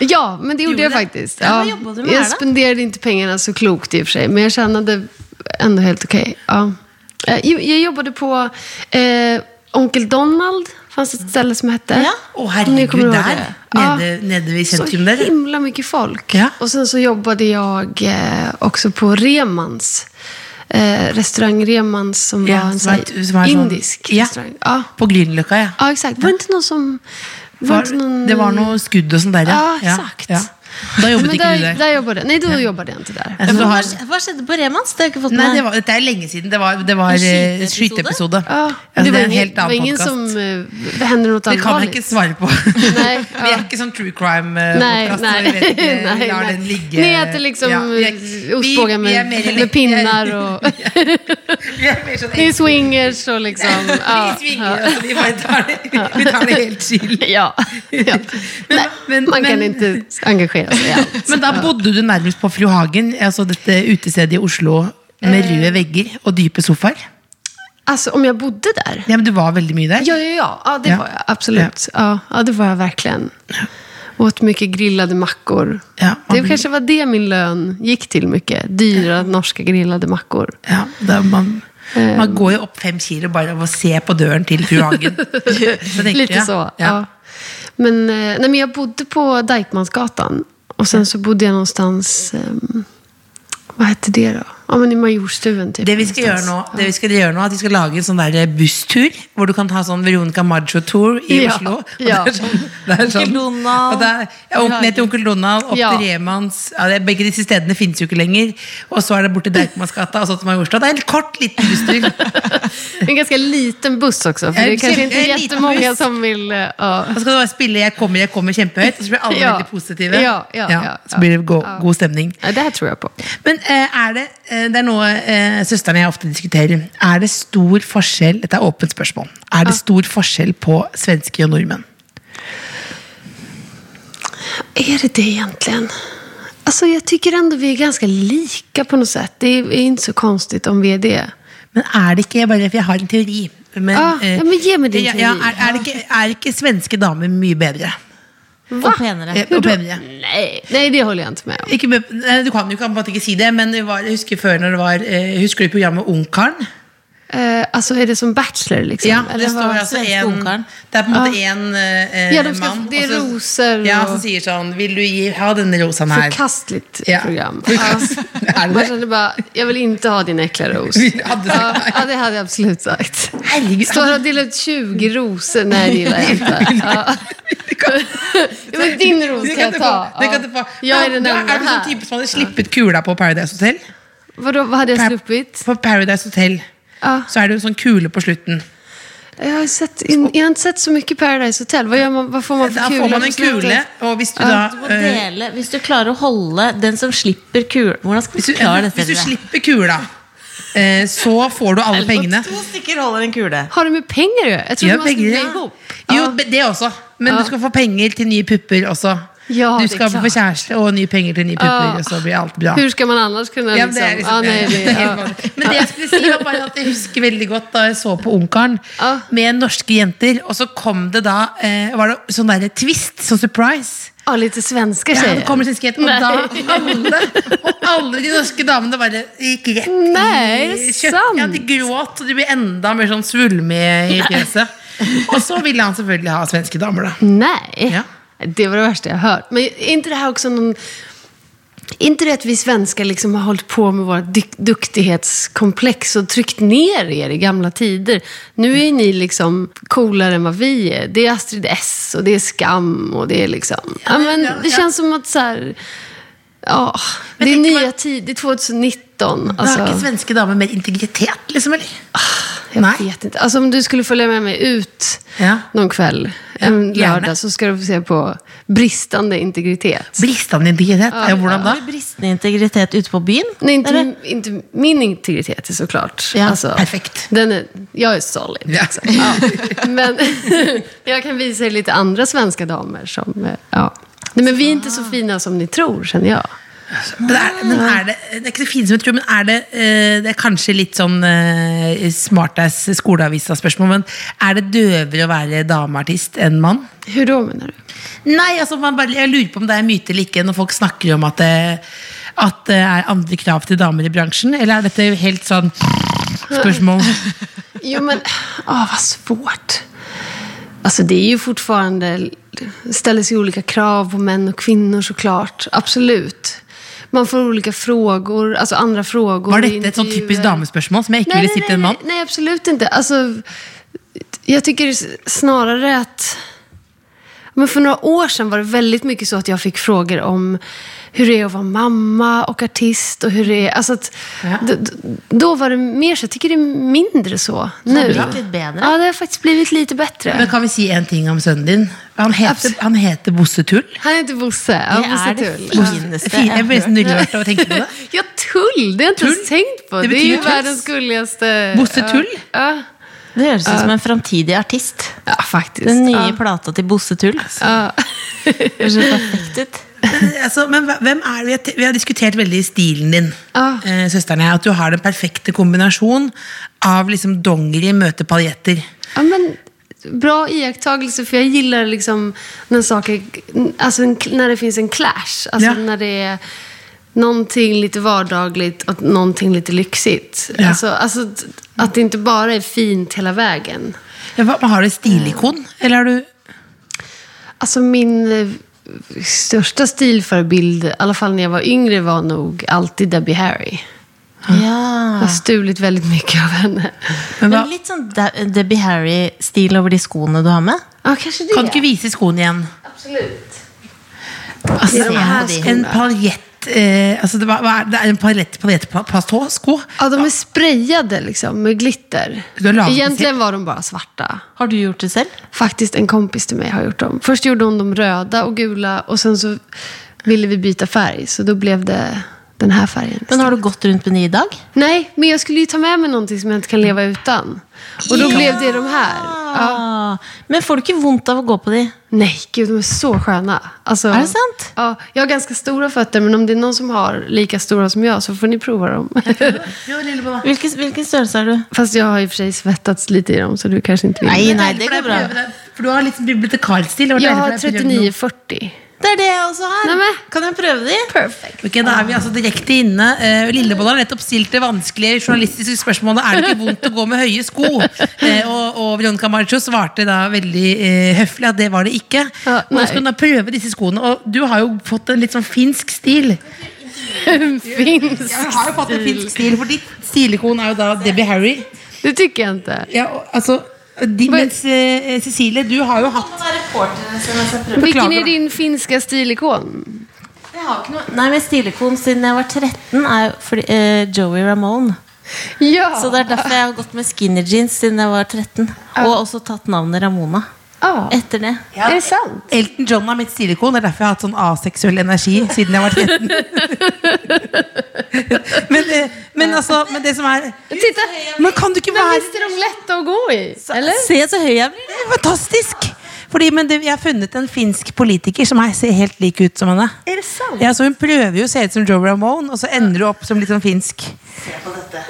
Speaker 5: Ja, men det
Speaker 4: Gjorde
Speaker 5: gjorde jag
Speaker 4: det?
Speaker 5: faktiskt.
Speaker 3: Ja,
Speaker 5: Ja.
Speaker 3: vad jobbade du med här
Speaker 5: Jag
Speaker 3: då?
Speaker 5: spenderade inte pengarna så klokt i och för sig, men jag tjänade ändå helt okej. Ja. Eh, jo, Jag jobbade på eh, Onkel Donald, fanns ett ställe som hette.
Speaker 3: Ja.
Speaker 4: Å,
Speaker 5: Om ni kommer
Speaker 4: herregud,
Speaker 5: ihåg
Speaker 4: der.
Speaker 5: det. Ja.
Speaker 4: Nede, nede i
Speaker 5: Så
Speaker 4: sentrum der.
Speaker 5: himla mycket folk.
Speaker 4: Ja.
Speaker 5: Och sen så jobbade jag eh, också på Remans. Eh, restaurang Remans som
Speaker 4: Ja,
Speaker 5: var en
Speaker 4: som
Speaker 5: sån
Speaker 4: er et- som er
Speaker 5: här
Speaker 4: sånn-
Speaker 5: indisk
Speaker 4: Ja.
Speaker 5: restaurang. Ja.
Speaker 4: På Grünerløkka, ja.
Speaker 5: ja, exakt. Var det inte någon som... Var, det
Speaker 4: Var,
Speaker 5: inte någon...
Speaker 4: det var noe skudd og sånn der,
Speaker 5: Ja, exakt.
Speaker 4: Da jobbet
Speaker 5: Men
Speaker 4: ikke
Speaker 5: där,
Speaker 4: du der.
Speaker 5: där jobbade jag. Nej, då jobbade jag inte där.
Speaker 4: Ja, så du
Speaker 3: Hva,
Speaker 4: har,
Speaker 3: hva skjedde på Remans? Det har jeg ikke fått
Speaker 4: nei,
Speaker 3: med.
Speaker 4: det var, dette er lenge siden. Det var, det var
Speaker 3: En
Speaker 4: eh,
Speaker 3: skyteepisode?
Speaker 4: skyteepisode.
Speaker 5: Ja,
Speaker 4: Altså,
Speaker 5: Ah. det
Speaker 4: det
Speaker 5: var
Speaker 4: er en
Speaker 5: ingen,
Speaker 4: helt
Speaker 5: det var
Speaker 4: annen
Speaker 5: ingen
Speaker 4: podkast.
Speaker 5: som... eh, Det hände något
Speaker 4: Det kan jeg
Speaker 5: allvarligt.
Speaker 4: ikke svare på.
Speaker 5: Nej,
Speaker 4: Vi
Speaker 5: ja.
Speaker 4: er ikke sånn true crime eh,
Speaker 5: Nej,
Speaker 4: podcast,
Speaker 5: nej.
Speaker 4: så vi vet ikke,
Speaker 5: nej,
Speaker 4: vi lar
Speaker 5: nej.
Speaker 4: den ligge.
Speaker 5: Ni äter liksom
Speaker 4: Ja, vi er- vi-
Speaker 5: eh, ostbågar
Speaker 4: vi er
Speaker 5: med,
Speaker 4: mer
Speaker 5: med pinnar og
Speaker 4: Vi er mer sånn
Speaker 5: Ni är swingers og liksom ja,
Speaker 4: Vi svinger, altså, vi bare tar det, vi tar det helt chill.
Speaker 5: Ja. ja.
Speaker 4: Men-
Speaker 5: Nej,
Speaker 4: men-
Speaker 5: man kan
Speaker 4: men-
Speaker 5: inte engagera sig i allt.
Speaker 4: Men da bodde du nærmest på Fru Hagen, altså dette utestedet i Oslo
Speaker 5: Eh.
Speaker 4: med røde vegger og dype sofaer.
Speaker 5: Alltså om jag bodde där?
Speaker 4: Ja, men du var veldig mye der.
Speaker 5: Ja, ja, ja. ja det
Speaker 4: Ja.
Speaker 5: var jag. Absolut. Ja. ja, det var jag verkligen. Åt mycket grillade mackor.
Speaker 4: Ja, man
Speaker 5: det
Speaker 4: blir-
Speaker 5: kanske var det min lön gick till mycket. Dyra norska grillade mackor.
Speaker 4: Ja, da man,
Speaker 5: Eh.
Speaker 4: man går jo opp fem kilo bare av å se på døren til Fru Hagen. Så tenker
Speaker 5: Lite
Speaker 4: jeg,
Speaker 5: så. Ja.
Speaker 4: Ja.
Speaker 5: Men, eh, nej, men jag bodde på Dykmansgatan. Och sen så bodde jag någonstans... ehm, vad hette det då? Ja, men i Majorstuen typ.
Speaker 4: Det vi skal gjøre nå, det vi skal gjøre nå er at vi skal lage en sånn der busstur, hvor du kan ta sånn Veronica Maggio-tour i
Speaker 5: Ja,
Speaker 4: Oslo. Og
Speaker 5: ja.
Speaker 4: Det er sånn, det er sånn,
Speaker 3: Onkel Donald.
Speaker 4: og det er, ja, opp ned til Onkel Donald, opp
Speaker 5: Ja.
Speaker 4: til Remans. Ja, det, begge disse stedene finnes jo ikke lenger. Og så er det bort til Deichmansgata og så til Majorstua. Det er en kort, liten busstur.
Speaker 5: En ganska liten buss också. För
Speaker 4: Ja,
Speaker 5: det är kanske
Speaker 4: en
Speaker 5: inte
Speaker 4: liten
Speaker 5: jättemånga
Speaker 4: buss.
Speaker 5: som vill... eh, ja.
Speaker 4: Da skal du bare spille 'Jeg kommer, jeg kommer' kjempehøyt, og så blir alle
Speaker 5: Ja.
Speaker 4: veldig positive.
Speaker 5: Ja, ja, ja,
Speaker 4: så blir det go
Speaker 5: ja.
Speaker 4: god stemning.
Speaker 5: Ja, det här tror jag på.
Speaker 4: Men eh, er det, eh, det er noe eh, søsteren og jeg ofte diskuterer. Er det stor forskjell Dette er åpent spørsmål. Er
Speaker 5: Ah.
Speaker 4: det stor forskjell på svenske og nordmenn?
Speaker 5: Är det det egentligen? Alltså jag tycker ändå vi är ganska lika på något sätt. Det är är inte så konstigt om vi är det.
Speaker 4: Men er det ikke bare, For jeg har en teori. Men,
Speaker 5: Ah,
Speaker 4: eh,
Speaker 5: ja, men gi meg din
Speaker 4: ja, ja,
Speaker 5: teori.
Speaker 4: er, er, det ikke, er ikke svenske damer mye bedre?
Speaker 3: Og penere.
Speaker 4: Eh, og penere?
Speaker 5: Nej, nej det håller jag inte med om.
Speaker 4: Ikke, be- nei, du kan jo ikke, på en måte ikke si det, men det var, jeg husker før når det var eh, Husker du programmet Ungkaren?
Speaker 5: Eh, alltså är det som Bachelor liksom?
Speaker 4: Ja,
Speaker 5: Eller
Speaker 4: det
Speaker 5: vad?
Speaker 4: står altså
Speaker 3: svenske
Speaker 4: en
Speaker 3: Ungkaren?
Speaker 4: Det er på en måte en eh,
Speaker 5: Ah. Ja, de skal-
Speaker 4: mann.
Speaker 5: det er
Speaker 4: og så-
Speaker 5: roser
Speaker 4: Ja,
Speaker 5: og-
Speaker 4: som sier sånn Vil du gi, ha denne rosen her?
Speaker 5: Förkastligt
Speaker 4: Ja.
Speaker 5: program.
Speaker 4: Förkast-
Speaker 5: Ja.
Speaker 4: Är det
Speaker 5: Man
Speaker 4: det?
Speaker 5: kände bara, jag vill inte ha din äckliga ros.
Speaker 4: Vi hade
Speaker 5: ja,
Speaker 4: sagt-
Speaker 5: ja, det hade jag absolut sagt.
Speaker 4: Herregud,
Speaker 5: Står här och delar ut 20 rosor? Nej, det gillar jag inte. Ja. Ja, men din ros
Speaker 4: Det
Speaker 5: kan
Speaker 4: kan
Speaker 5: jag
Speaker 4: du
Speaker 5: ta.
Speaker 4: få. Det kan du få.
Speaker 5: Ja. Jag är
Speaker 4: Men
Speaker 5: den
Speaker 4: du er,
Speaker 5: enda
Speaker 4: er du sånn
Speaker 5: här.
Speaker 4: type som hadde slippet kula på Paradise Hotel?
Speaker 5: Vadå, vad hade jag
Speaker 4: Per-
Speaker 5: sluppit?
Speaker 4: På Paradise Hotel
Speaker 5: Ja.
Speaker 4: så er det jo en sånn kule på slutten.
Speaker 5: Jag har, sett, in, jeg har inte sett så mycket Paradise Hotel. Vad, gör man, vad får man för
Speaker 4: Da
Speaker 5: kula?
Speaker 4: får man
Speaker 5: på
Speaker 4: en
Speaker 5: slutet?
Speaker 4: kule, og hvis du
Speaker 3: Du
Speaker 4: da
Speaker 3: må
Speaker 4: eh,
Speaker 3: dele, hvis du klarer å holde den som slipper kul Hvordan skal
Speaker 4: hvis
Speaker 3: vi
Speaker 4: du,
Speaker 3: klare dette?
Speaker 4: hvis du
Speaker 3: til deg?
Speaker 4: slipper kula, eh, så får du alle pengene.
Speaker 3: To stykker holder en kule.
Speaker 5: Har det med penger å gjøre? Jeg trodde
Speaker 4: Ja,
Speaker 5: man skulle
Speaker 4: penger,
Speaker 5: legge
Speaker 4: ja.
Speaker 5: opp.
Speaker 4: Jo, men det også. Men
Speaker 5: Ja.
Speaker 4: du skal få penger til nye pupper også.
Speaker 5: Ja,
Speaker 4: du
Speaker 5: det er
Speaker 4: skal få
Speaker 5: klart.
Speaker 4: kjæreste og nye penger til nye
Speaker 5: Ja.
Speaker 4: pupper, og så blir alt bra.
Speaker 5: Hur ska man annars kunna
Speaker 4: Ja, men
Speaker 5: liksom...
Speaker 4: det er liksom-
Speaker 5: ah, nej, det, ah.
Speaker 4: det er helt
Speaker 5: ja.
Speaker 4: vanlig. Men det jeg skulle si, var bare at jeg husker veldig godt da jeg så på Ungkaren
Speaker 5: Ja.
Speaker 4: med norske jenter, og så kom det da eh, Var det sånn derre twist, sånn surprise?
Speaker 5: Ja, lite svenska
Speaker 4: Ja,
Speaker 5: tjejer.
Speaker 4: det kommer svenskhet, og
Speaker 5: Nei.
Speaker 4: da alle, og alle de norske damene bare gikk rett
Speaker 5: Nei, er
Speaker 4: i
Speaker 5: det
Speaker 4: kjøtt.
Speaker 5: sant?
Speaker 4: Ja, de gråt, og de ble enda mer sånn svulme i fjeset. Og så ville han selvfølgelig ha svenske damer, da.
Speaker 5: Mm. Nej,
Speaker 4: Ja.
Speaker 5: det var det värsta jag hört. Men är inte det här också någon... Är inte det att vi svenskar liksom har hållit på med våra dyk- duktighetskomplex och tryckt ner er i gamla tider? Nu är ni liksom coolare än vad vi är. Det är Astrid S och det är Skam och det är liksom... Ja, men det känns som att så här... Ja, det är
Speaker 4: tänker man-
Speaker 5: nya tider. Det är 2019.
Speaker 4: Da har
Speaker 5: Alltså,
Speaker 4: ikke svenske damer mer integritet, liksom? eller?
Speaker 5: jag
Speaker 4: Nej.
Speaker 5: Ah, vet inte. Alltså om du skulle följa med mig ut
Speaker 4: Ja.
Speaker 5: någon kväll, en
Speaker 4: gärna.
Speaker 5: lördag, så ska du få se på bristande integritet.
Speaker 4: Bristende integritet?
Speaker 5: Ah.
Speaker 4: Ja, hvordan da?
Speaker 3: Har du bristende integritet ute på byen?
Speaker 5: Nej, inte,
Speaker 3: Eller?
Speaker 5: inte min integritet är såklart.
Speaker 3: Ja,
Speaker 4: perfekt.
Speaker 5: Den är, jag är solid.
Speaker 4: Ja.
Speaker 5: liksom. Ja. Men jag kan visa er lite andra svenska damer som... eh, Ja. Nej, men vi är inte så fina som ni tror, känner jag.
Speaker 4: Men er, men er det, det er ikke så fint som jeg tror, men er det, eh, det er kanskje litt sånn eh, smartass skoleavisa-spørsmål, men er det døvere å være dameartist enn mann?
Speaker 5: Hur då menar du?
Speaker 4: Nei, altså man bare, jeg lurer på om det er myte eller ikke når folk snakker om at det, at det er andre krav til damer i bransjen, eller er dette helt sånn spørsmål?
Speaker 5: Jo, men åh, vad svårt. Alltså, det är ju fortfarande... Det ställs ju olika krav på män och kvinnor såklart. Absolut. Man får olika frågor, alltså andra frågor.
Speaker 4: Var dette et sånn typisk
Speaker 5: intervjuer.
Speaker 4: damespørsmål som jeg ikke ville si til en mann?
Speaker 5: Nej, nej, absolut inte. Alltså, jag tycker snarare att... Men för några år sedan var det väldigt mycket så att jag fick frågor om hur det är att vara mamma och artist. Och hur det är, alltså att, d- d- då var det mer så. Jag tycker det är mindre så nu.
Speaker 3: har blivit lite bättre.
Speaker 5: Ja, det har faktiskt blivit lite bättre.
Speaker 4: Men kan vi si en ting om sønnen din? Han heter, han heter Bosse Tull.
Speaker 5: han heter Bosse. Ja,
Speaker 3: Det
Speaker 5: Bosse
Speaker 3: er det
Speaker 5: Tull.
Speaker 3: fineste
Speaker 4: Fin- Jeg
Speaker 3: jeg
Speaker 4: ble
Speaker 3: har
Speaker 4: nesten
Speaker 3: hørt.
Speaker 4: nydelig av å tenke på det.
Speaker 5: Ja, Tull! Det har jag inte ens tänkt på.
Speaker 4: Det
Speaker 5: Det, är ju
Speaker 4: betyder tull.
Speaker 5: världens gulligaste...
Speaker 4: Bosse Tull?
Speaker 5: Ja,
Speaker 3: Det høres ut som en framtidig artist.
Speaker 5: ja faktiskt.
Speaker 3: Den nye
Speaker 5: ja.
Speaker 3: plata til Bosse Tull. Høres så perfekt ut.
Speaker 4: altså, men hva- hvem er vi? Vi har diskutert veldig stilen din,
Speaker 5: Ah.
Speaker 4: eh, søsteren og jeg. At du har den perfekte kombinasjon av liksom dongeri møter paljetter.
Speaker 5: Ja, men bra iakttagelse, för jag gillar liksom när saker, alltså en, när det finns en clash. Alltså
Speaker 4: Ja.
Speaker 5: när det är någonting lite vardagligt och någonting lite lyxigt.
Speaker 4: Ja.
Speaker 5: Alltså, alltså t- att det inte bara är fint hela vägen.
Speaker 4: Ja, hva- Har du et stilikon? Eller har du
Speaker 5: Alltså min eh, största stilförebild, i alla fall när jag var yngre, var nog alltid Debbie Harry. Jag har
Speaker 3: Ja.
Speaker 5: stulit väldigt mycket av henne.
Speaker 4: men hva,
Speaker 3: Men litt sånn De- Debbie Harry-stil over de skoene du har med.
Speaker 5: Ja, kanske det.
Speaker 4: Kan du ikke vise skoen igjen?
Speaker 5: Absolut.
Speaker 4: Altså,
Speaker 3: de her skoene.
Speaker 4: en paljett eh, altså, det, var, hva er, det er en paljett, paljett pa- pastå, sko.
Speaker 5: Ja, de är sprayade liksom med glitter.
Speaker 4: Du har lagat-
Speaker 5: Egentligen var de bara svarta.
Speaker 3: Har du gjort det selv?
Speaker 5: Faktiskt en kompis till mig har gjort dem. Först gjorde hon de röda och gula och sen så ville vi byta färg. Så då blev det den här färgen.
Speaker 3: Men har du gått rundt med de i dag?
Speaker 5: Nej, men jag skulle ju ta med mig någonting som jag inte kan leva utan. Och då blev det de här. Ja.
Speaker 3: Ah, Men får du ikke vondt av å gå på de?
Speaker 5: Nej, gud de är så sköna. Alltså,
Speaker 3: Är det sant?
Speaker 5: Ja, jag har ganska stora fötter men om det är någon som har lika stora som jag så får ni prova dem.
Speaker 3: Hvilken, hvilken størrelse er du?
Speaker 5: Fast jag har i och för sig svettats lite i dem så du kanskje inte vill.
Speaker 3: Nei, nei, det går bra.
Speaker 4: For du har litt bibliotekarstil. det var
Speaker 5: Jag
Speaker 4: deilig for
Speaker 5: har
Speaker 4: deg å prøve noe.
Speaker 5: 39,40.
Speaker 3: Det er det jeg også har.
Speaker 5: Nei, men-
Speaker 3: Kan jeg prøve de?
Speaker 4: Ok, Da er vi altså direkte inne. Eh, Lillebolla har nettopp stilt det vanskelige journalistiske spørsmålet Er det ikke vondt å gå med høye sko. Eh, og, og Veronica Maggio svarte da veldig eh, høflig at det var det ikke.
Speaker 5: Ja,
Speaker 4: og nå
Speaker 5: nei.
Speaker 4: skal hun da prøve disse skoene. Og du har jo fått en litt sånn finsk stil.
Speaker 5: Finns.
Speaker 4: Jeg har jo fått en finsk stil, for ditt stilikon er jo da Debbie Harry.
Speaker 5: Det tycker jag inte.
Speaker 4: Ja, og, altså, de, mens eh, Cecilie, du har jo hatt
Speaker 5: Vilken är din finska stilikon?
Speaker 3: Jeg har ikke noe. Nei, men Stilekon siden jeg var 13, er jo fordi, eh, Joey Ramone.
Speaker 5: Ja.
Speaker 3: Så det er derfor jeg har gått med skinny jeans siden jeg var 13. Og også tatt navnet Ramona
Speaker 5: Ja.
Speaker 3: etter det.
Speaker 5: Är det sant?
Speaker 4: Elton John er mitt stilikon. Det er derfor jeg har hatt sånn aseksuell energi siden jeg var 13. men, eh, men Men altså, men det som er
Speaker 5: Titta!
Speaker 4: Men kan du ikke
Speaker 5: Men
Speaker 4: være
Speaker 5: visst er de lette å gå i? Eller?
Speaker 3: Se så høy jeg blir.
Speaker 4: Det er Fantastisk! Fordi, men det, jeg har funnet en finsk politiker som er, ser helt lik ut som henne.
Speaker 3: Er det sant?
Speaker 4: Ja, så Hun prøver jo å se ut som Joe Ramone, og så ender hun opp som litt sånn finsk.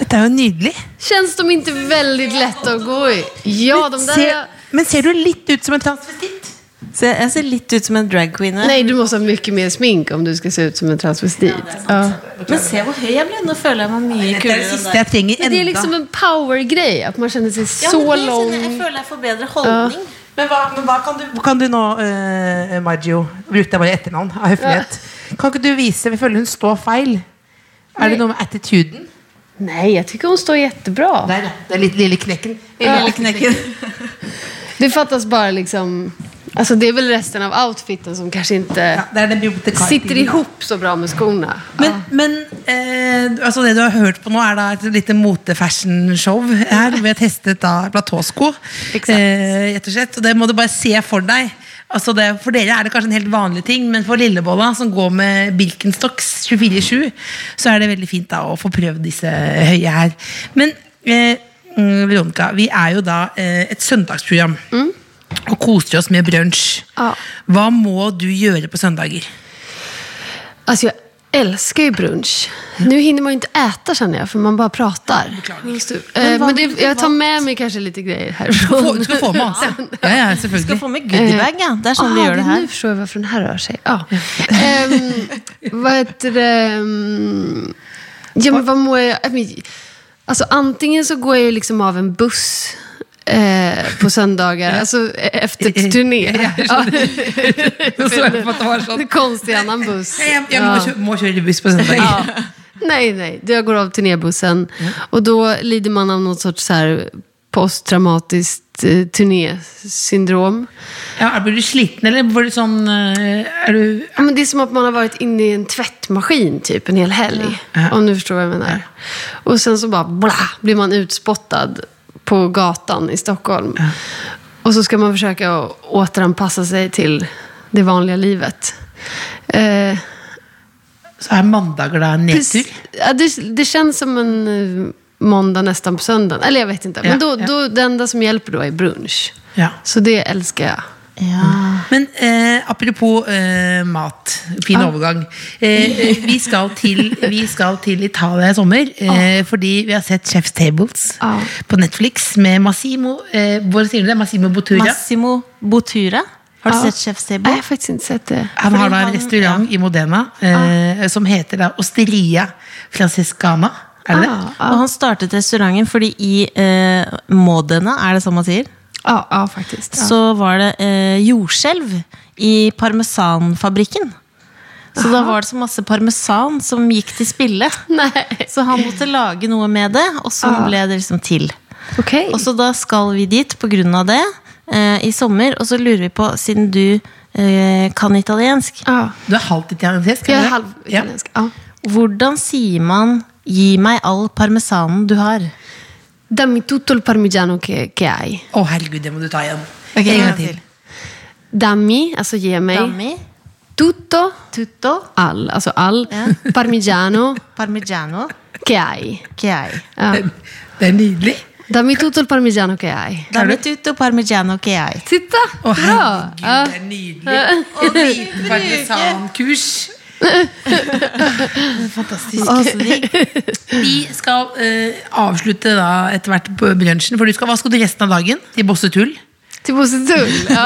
Speaker 4: Dette er jo nydelig.
Speaker 5: Känns de inte väldigt lätta att gå i? Ja, de där...
Speaker 4: ser, men ser du litt ut som en transvestitt?
Speaker 3: Se, jeg ser litt ut som en drag queen. her.
Speaker 5: Nej, du måste ha mycket mer smink om du ska se ut som en transvestit. Ja.
Speaker 3: Men se hvor høy jeg ble. Nå føler jeg meg
Speaker 4: Dette er det
Speaker 3: mye kulere enn
Speaker 4: siste
Speaker 3: deg.
Speaker 4: jeg trenger
Speaker 5: Men det är liksom
Speaker 4: enda.
Speaker 5: en power-grej, att man känner sig
Speaker 3: Ja, men
Speaker 5: så
Speaker 3: det kjenner Jeg jeg
Speaker 5: lång.
Speaker 3: føler jeg får bedre holdning.
Speaker 4: Men hva, men hva kan, du, kan du nå, uh, Maggio Brukte jeg bare etternavn av høflighet. Kan ikke du vise Vi føler hun står feil. Er det noe med attituden?
Speaker 5: Nej, jag tycker hon står jättebra.
Speaker 4: Der, ja. Det er litt lille knekken.
Speaker 3: Lille knekken.
Speaker 5: Det fattas bara liksom... Alltså det är väl resten av outfiten som kanske
Speaker 4: Ja,
Speaker 5: inte
Speaker 4: det er den bibliotekar-
Speaker 5: sitter ihop så bra med skorna.
Speaker 4: Men, men eh, altså det du har hørt på nå, er da et lite mote-fashion-show her. Vi har testet da platåsko.
Speaker 5: Exakt.
Speaker 4: Eh, rett og slett. Og det må du bare se for deg. Altså det, for dere er det kanskje en helt vanlig ting, men for Lillebolla, som går med Birkenstocks 24-7, så er det veldig fint da å få prøvd disse høye her. Men eh, mm, Veronica, vi er jo da eh, et søndagsprogram. Og koser oss med brunsj.
Speaker 5: Ja.
Speaker 4: Hva må du gjøre på søndager?
Speaker 5: Alltså jag älskar ju brunch. Nu hinner man ju inte äta känner jag, för man bara pratar. Just det. Eh, Men, det, jag tar med mig kanske lite grejer
Speaker 4: Få,
Speaker 5: härifrån.
Speaker 4: du skal få
Speaker 5: altså.
Speaker 4: masse. Ja, ja, selvfølgelig.
Speaker 3: Skal få med goodiebag, ja. Det er sånn vi
Speaker 5: Ah,
Speaker 3: gjør det
Speaker 5: Nu
Speaker 3: her.
Speaker 5: förstår jag varför den här rör sig. Ja. Ehm, vad heter det? Ehm, Ja, men vad mår jag? jag men- Alltså, antingen så går jag ju liksom av en buss eh, på söndagar, alltså e- efter turné. Ja,
Speaker 4: Så så jeg på at det var sånn.
Speaker 5: det är konstigt, annan buss.
Speaker 4: Jeg, jeg må,
Speaker 5: Ja.
Speaker 4: kjø må kjøre buss på søndag.
Speaker 5: Nej, nej. Jag går av turnébussen. Och då lider man av något sorts så här posttraumatiskt eh, turnésyndrom.
Speaker 4: Ja, er- blir du sliten, eller blir du sånn eh, Er du
Speaker 5: Ja, men det är som att man har varit inne i en tvättmaskin typ en hel helg.
Speaker 4: Ja.
Speaker 5: Om du förstår vad jag menar. Och sen så bara bla, blir man utspottad på gatan i Stockholm. Och så ska man försöka å- återanpassa sig till det vanliga livet. Eh,
Speaker 4: Så er mandager da en nedtur?
Speaker 5: precis- ja, det, det känns som en eh, måndag nästan på söndagen. Eller jag vet inte.
Speaker 4: Ja,
Speaker 5: Men då,
Speaker 4: ja.
Speaker 5: då, det enda som hjälper då är brunch.
Speaker 4: Ja.
Speaker 5: Så det älskar jag.
Speaker 4: Men eh, apropos eh, mat. Fin overgang. Eh, vi, skal til, vi skal til Italia i sommer eh, fordi vi har sett Chef's Tables
Speaker 5: Ah.
Speaker 4: på Netflix med Massimo eh, Hvor sier du det? Massimo Bottura?
Speaker 3: Massimo Botura. Har du
Speaker 5: Ja.
Speaker 3: sett Chef
Speaker 5: Nej, jag har
Speaker 3: Sebo?
Speaker 5: faktiskt inte sett det.
Speaker 4: Han har da en
Speaker 3: han-
Speaker 4: restaurant i Modena eh, som heter da Osteria Francescana. Er det det?
Speaker 3: Og han startet restauranten fordi i eh, Modena, er det sånn man sier?
Speaker 5: Ja, ja faktiskt. Ja.
Speaker 3: så var det eh, jordskjelv i parmesanfabrikken. Så da var det så masse parmesan som gikk til spille.
Speaker 5: Nej.
Speaker 3: Så han måtte lage noe med det, og så ble det liksom til.
Speaker 5: Okej.
Speaker 3: Og så da skal vi dit på grunn av det eh, i sommer, og så lurer vi på, siden du eh, kan italiensk,
Speaker 5: Ja.
Speaker 4: Du er halvt italiensk? er
Speaker 5: Jag
Speaker 4: du
Speaker 5: är
Speaker 4: det?
Speaker 5: halv italiensk. Ja.
Speaker 3: hvordan sier man 'gi meg all parmesanen du har'?
Speaker 5: Dammi tutto il parmigiano che, che hai.
Speaker 4: Å, herregud, det må du ta igjen.
Speaker 3: Ok,
Speaker 4: en gang
Speaker 3: en gang
Speaker 4: til.
Speaker 3: til.
Speaker 5: Dammi, alltså ge mig.
Speaker 3: Dammi,
Speaker 5: Tutto,
Speaker 3: tutto,
Speaker 5: all, alltså all. Parmigiano
Speaker 3: parmigiano,
Speaker 5: che hai.
Speaker 3: chiai.
Speaker 5: Ja.
Speaker 4: Det er nydelig.
Speaker 5: Dammi tutto il parmigiano che hai.
Speaker 3: Dammi tutto parmigiano chiai.
Speaker 5: Titta,
Speaker 4: Å,
Speaker 5: bra! Ah.
Speaker 4: herregud,
Speaker 5: Ja.
Speaker 4: det er nydelig. Og liten parmesankurs. Fantastisk.
Speaker 3: Å, så digg.
Speaker 4: Vi skal eh, avslutte da etter hvert på brunsjen, for du skal, hva skal du resten av dagen? Til Bossetull?
Speaker 5: Till Bossetull. Ja.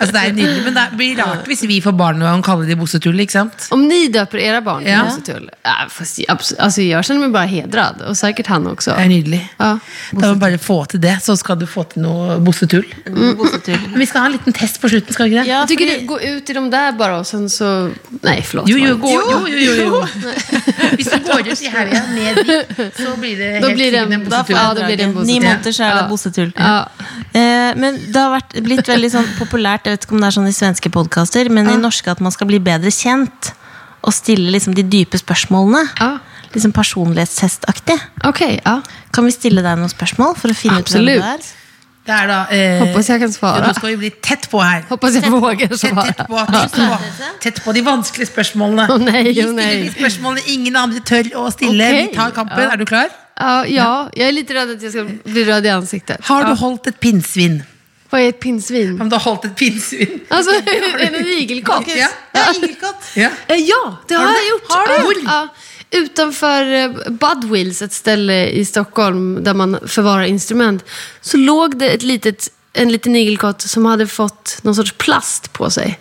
Speaker 4: Altså, det er nydelig, men det blir rart hvis vi får barn og kaller de Bossetull, ikke sant?
Speaker 5: Om ni döper era barn till
Speaker 4: Ja.
Speaker 5: Bossetull? Ja, fast, jag- abs- alltså, jag känner mig bara hedrad, och säkert han också.
Speaker 4: Det er nydelig.
Speaker 5: Ja.
Speaker 4: Da må vi bare få til det, så skal du få til noe Bossetull.
Speaker 5: Mm,
Speaker 3: Bosetull.
Speaker 4: Men vi skal ha en liten test på slutten, skal vi ikke det?
Speaker 3: Ja,
Speaker 5: Jag tycker
Speaker 3: fordi-
Speaker 5: du, gå ut i de där bara och sen så... Nej, förlåt.
Speaker 4: Jo, jo,
Speaker 5: Malin.
Speaker 4: gå, jo, jo, jo, jo. Hvis du går ut i helga med de, så blir det
Speaker 5: Då
Speaker 4: helt
Speaker 5: blir det
Speaker 4: sikkert en
Speaker 5: en,
Speaker 4: positiv
Speaker 5: ja, då blir det en
Speaker 3: Ni
Speaker 5: Bossetull.
Speaker 3: måneder så er det
Speaker 5: Ja.
Speaker 3: bosetull.
Speaker 5: Ja.
Speaker 3: Eh, men det har vært, blitt veldig sånn populært, jeg vet ikke om det er sånn i svenske podkaster, men i norske at man skal bli bedre kjent og stille liksom de dype spørsmålene.
Speaker 5: Ja.
Speaker 3: Liksom personlighetstestaktig.
Speaker 5: Okej, ja.
Speaker 3: Kan vi stille deg noen spørsmål for å finne ut hvem
Speaker 5: Absolutt.
Speaker 3: du er?
Speaker 4: Det er da eh,
Speaker 5: Hoppas jeg kan svare.
Speaker 4: Jo, nå skal vi bli tett på her.
Speaker 5: Hoppas jag vågar
Speaker 4: Tett,
Speaker 5: svara.
Speaker 4: tett, på, tett, på, tett på de vanskelige spørsmålene.
Speaker 5: Åh, nei,
Speaker 4: vi
Speaker 5: åh,
Speaker 4: stiller
Speaker 5: nei.
Speaker 4: de spørsmålene ingen andre tør å stille.
Speaker 5: Ok,
Speaker 4: Vi tar kampen.
Speaker 5: ja.
Speaker 4: Er du klar?
Speaker 5: Ja, ja, jag är lite rädd att jag ska bli röd i ansiktet.
Speaker 4: Har du holdt et pinnsvin?
Speaker 5: Vad är ett pinnsvin?
Speaker 4: Om du har holdt et pinnsvin?
Speaker 5: Alltså, är det en igelkott?
Speaker 4: Ja.
Speaker 6: Ja, igelkott.
Speaker 4: Ja.
Speaker 5: Eh, Ja, det har,
Speaker 4: Har du
Speaker 5: jag
Speaker 4: det?
Speaker 5: gjort.
Speaker 4: Har du?
Speaker 5: Ja, ja. Utanför eh, Budwheels, ett ställe i Stockholm där man förvarar instrument, så låg det ett litet, en liten igelkott som hade fått någon sorts plast på sig.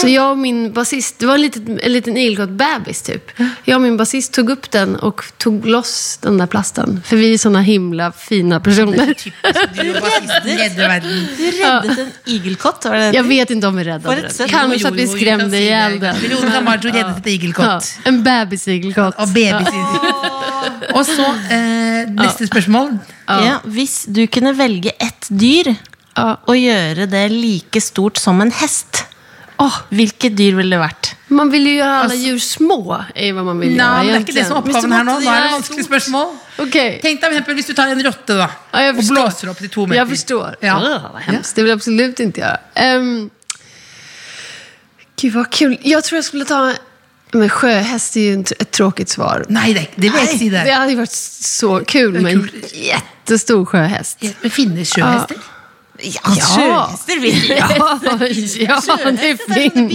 Speaker 5: Så jag och min basist, det var en liten, en liten igelkott-bebis typ. Jag och min basist tog upp den och tog loss den där plasten. För vi är såna himla fina personer.
Speaker 4: Du redder verden.
Speaker 3: Du reddet en igelkott? Var det
Speaker 5: Jag vet inte om vi räddade
Speaker 3: ett
Speaker 5: den.
Speaker 3: sätt-
Speaker 5: Kanske att vi
Speaker 4: Jo, jo, jo,
Speaker 5: skrämde
Speaker 4: si det.
Speaker 5: ihjäl den.
Speaker 4: Veronica Maggio reddet et
Speaker 5: Ja,
Speaker 4: igelkott.
Speaker 5: en bebisigelkott.
Speaker 4: Og babysitter. Og så eh, neste spørsmål.
Speaker 3: ja, hvis du kunne velge ett dyr
Speaker 5: Ja.
Speaker 3: og gjøre det like stort som en hest, hvilket dyr ville det vært?
Speaker 5: Man vill ju göra alla djur små. Är vad man vill
Speaker 4: Nei,
Speaker 5: göra
Speaker 4: Altså- men det er ikke det
Speaker 5: egentligen.
Speaker 4: som er
Speaker 5: Men så
Speaker 4: oppgaven her nå.
Speaker 5: måste
Speaker 4: Nå er det
Speaker 5: göra
Speaker 4: vanskelige
Speaker 5: stort.
Speaker 4: spørsmål.
Speaker 5: Okej.
Speaker 4: Tenk deg for eksempel hvis du tar en rotte da,
Speaker 5: Ja, jeg
Speaker 4: og
Speaker 5: forstår.
Speaker 4: blåser opp til to meter.
Speaker 5: Jag förstår.
Speaker 4: Ja.
Speaker 5: Ugh, vad hemskt. Det vill jag absolut inte göra. Ehm, gud vad kul. Jag tror jag skulle ta... Men sjöhäst är ju en tr- ett tråkigt svar.
Speaker 4: Nei, det, er- det vil jeg ikke si det.
Speaker 5: Det hade ju varit så kul med en jättestor sjöhäst.
Speaker 4: Det finnes sjøhester.
Speaker 3: Ja,
Speaker 5: sjøhester
Speaker 3: vil
Speaker 5: Ja, ja det finns.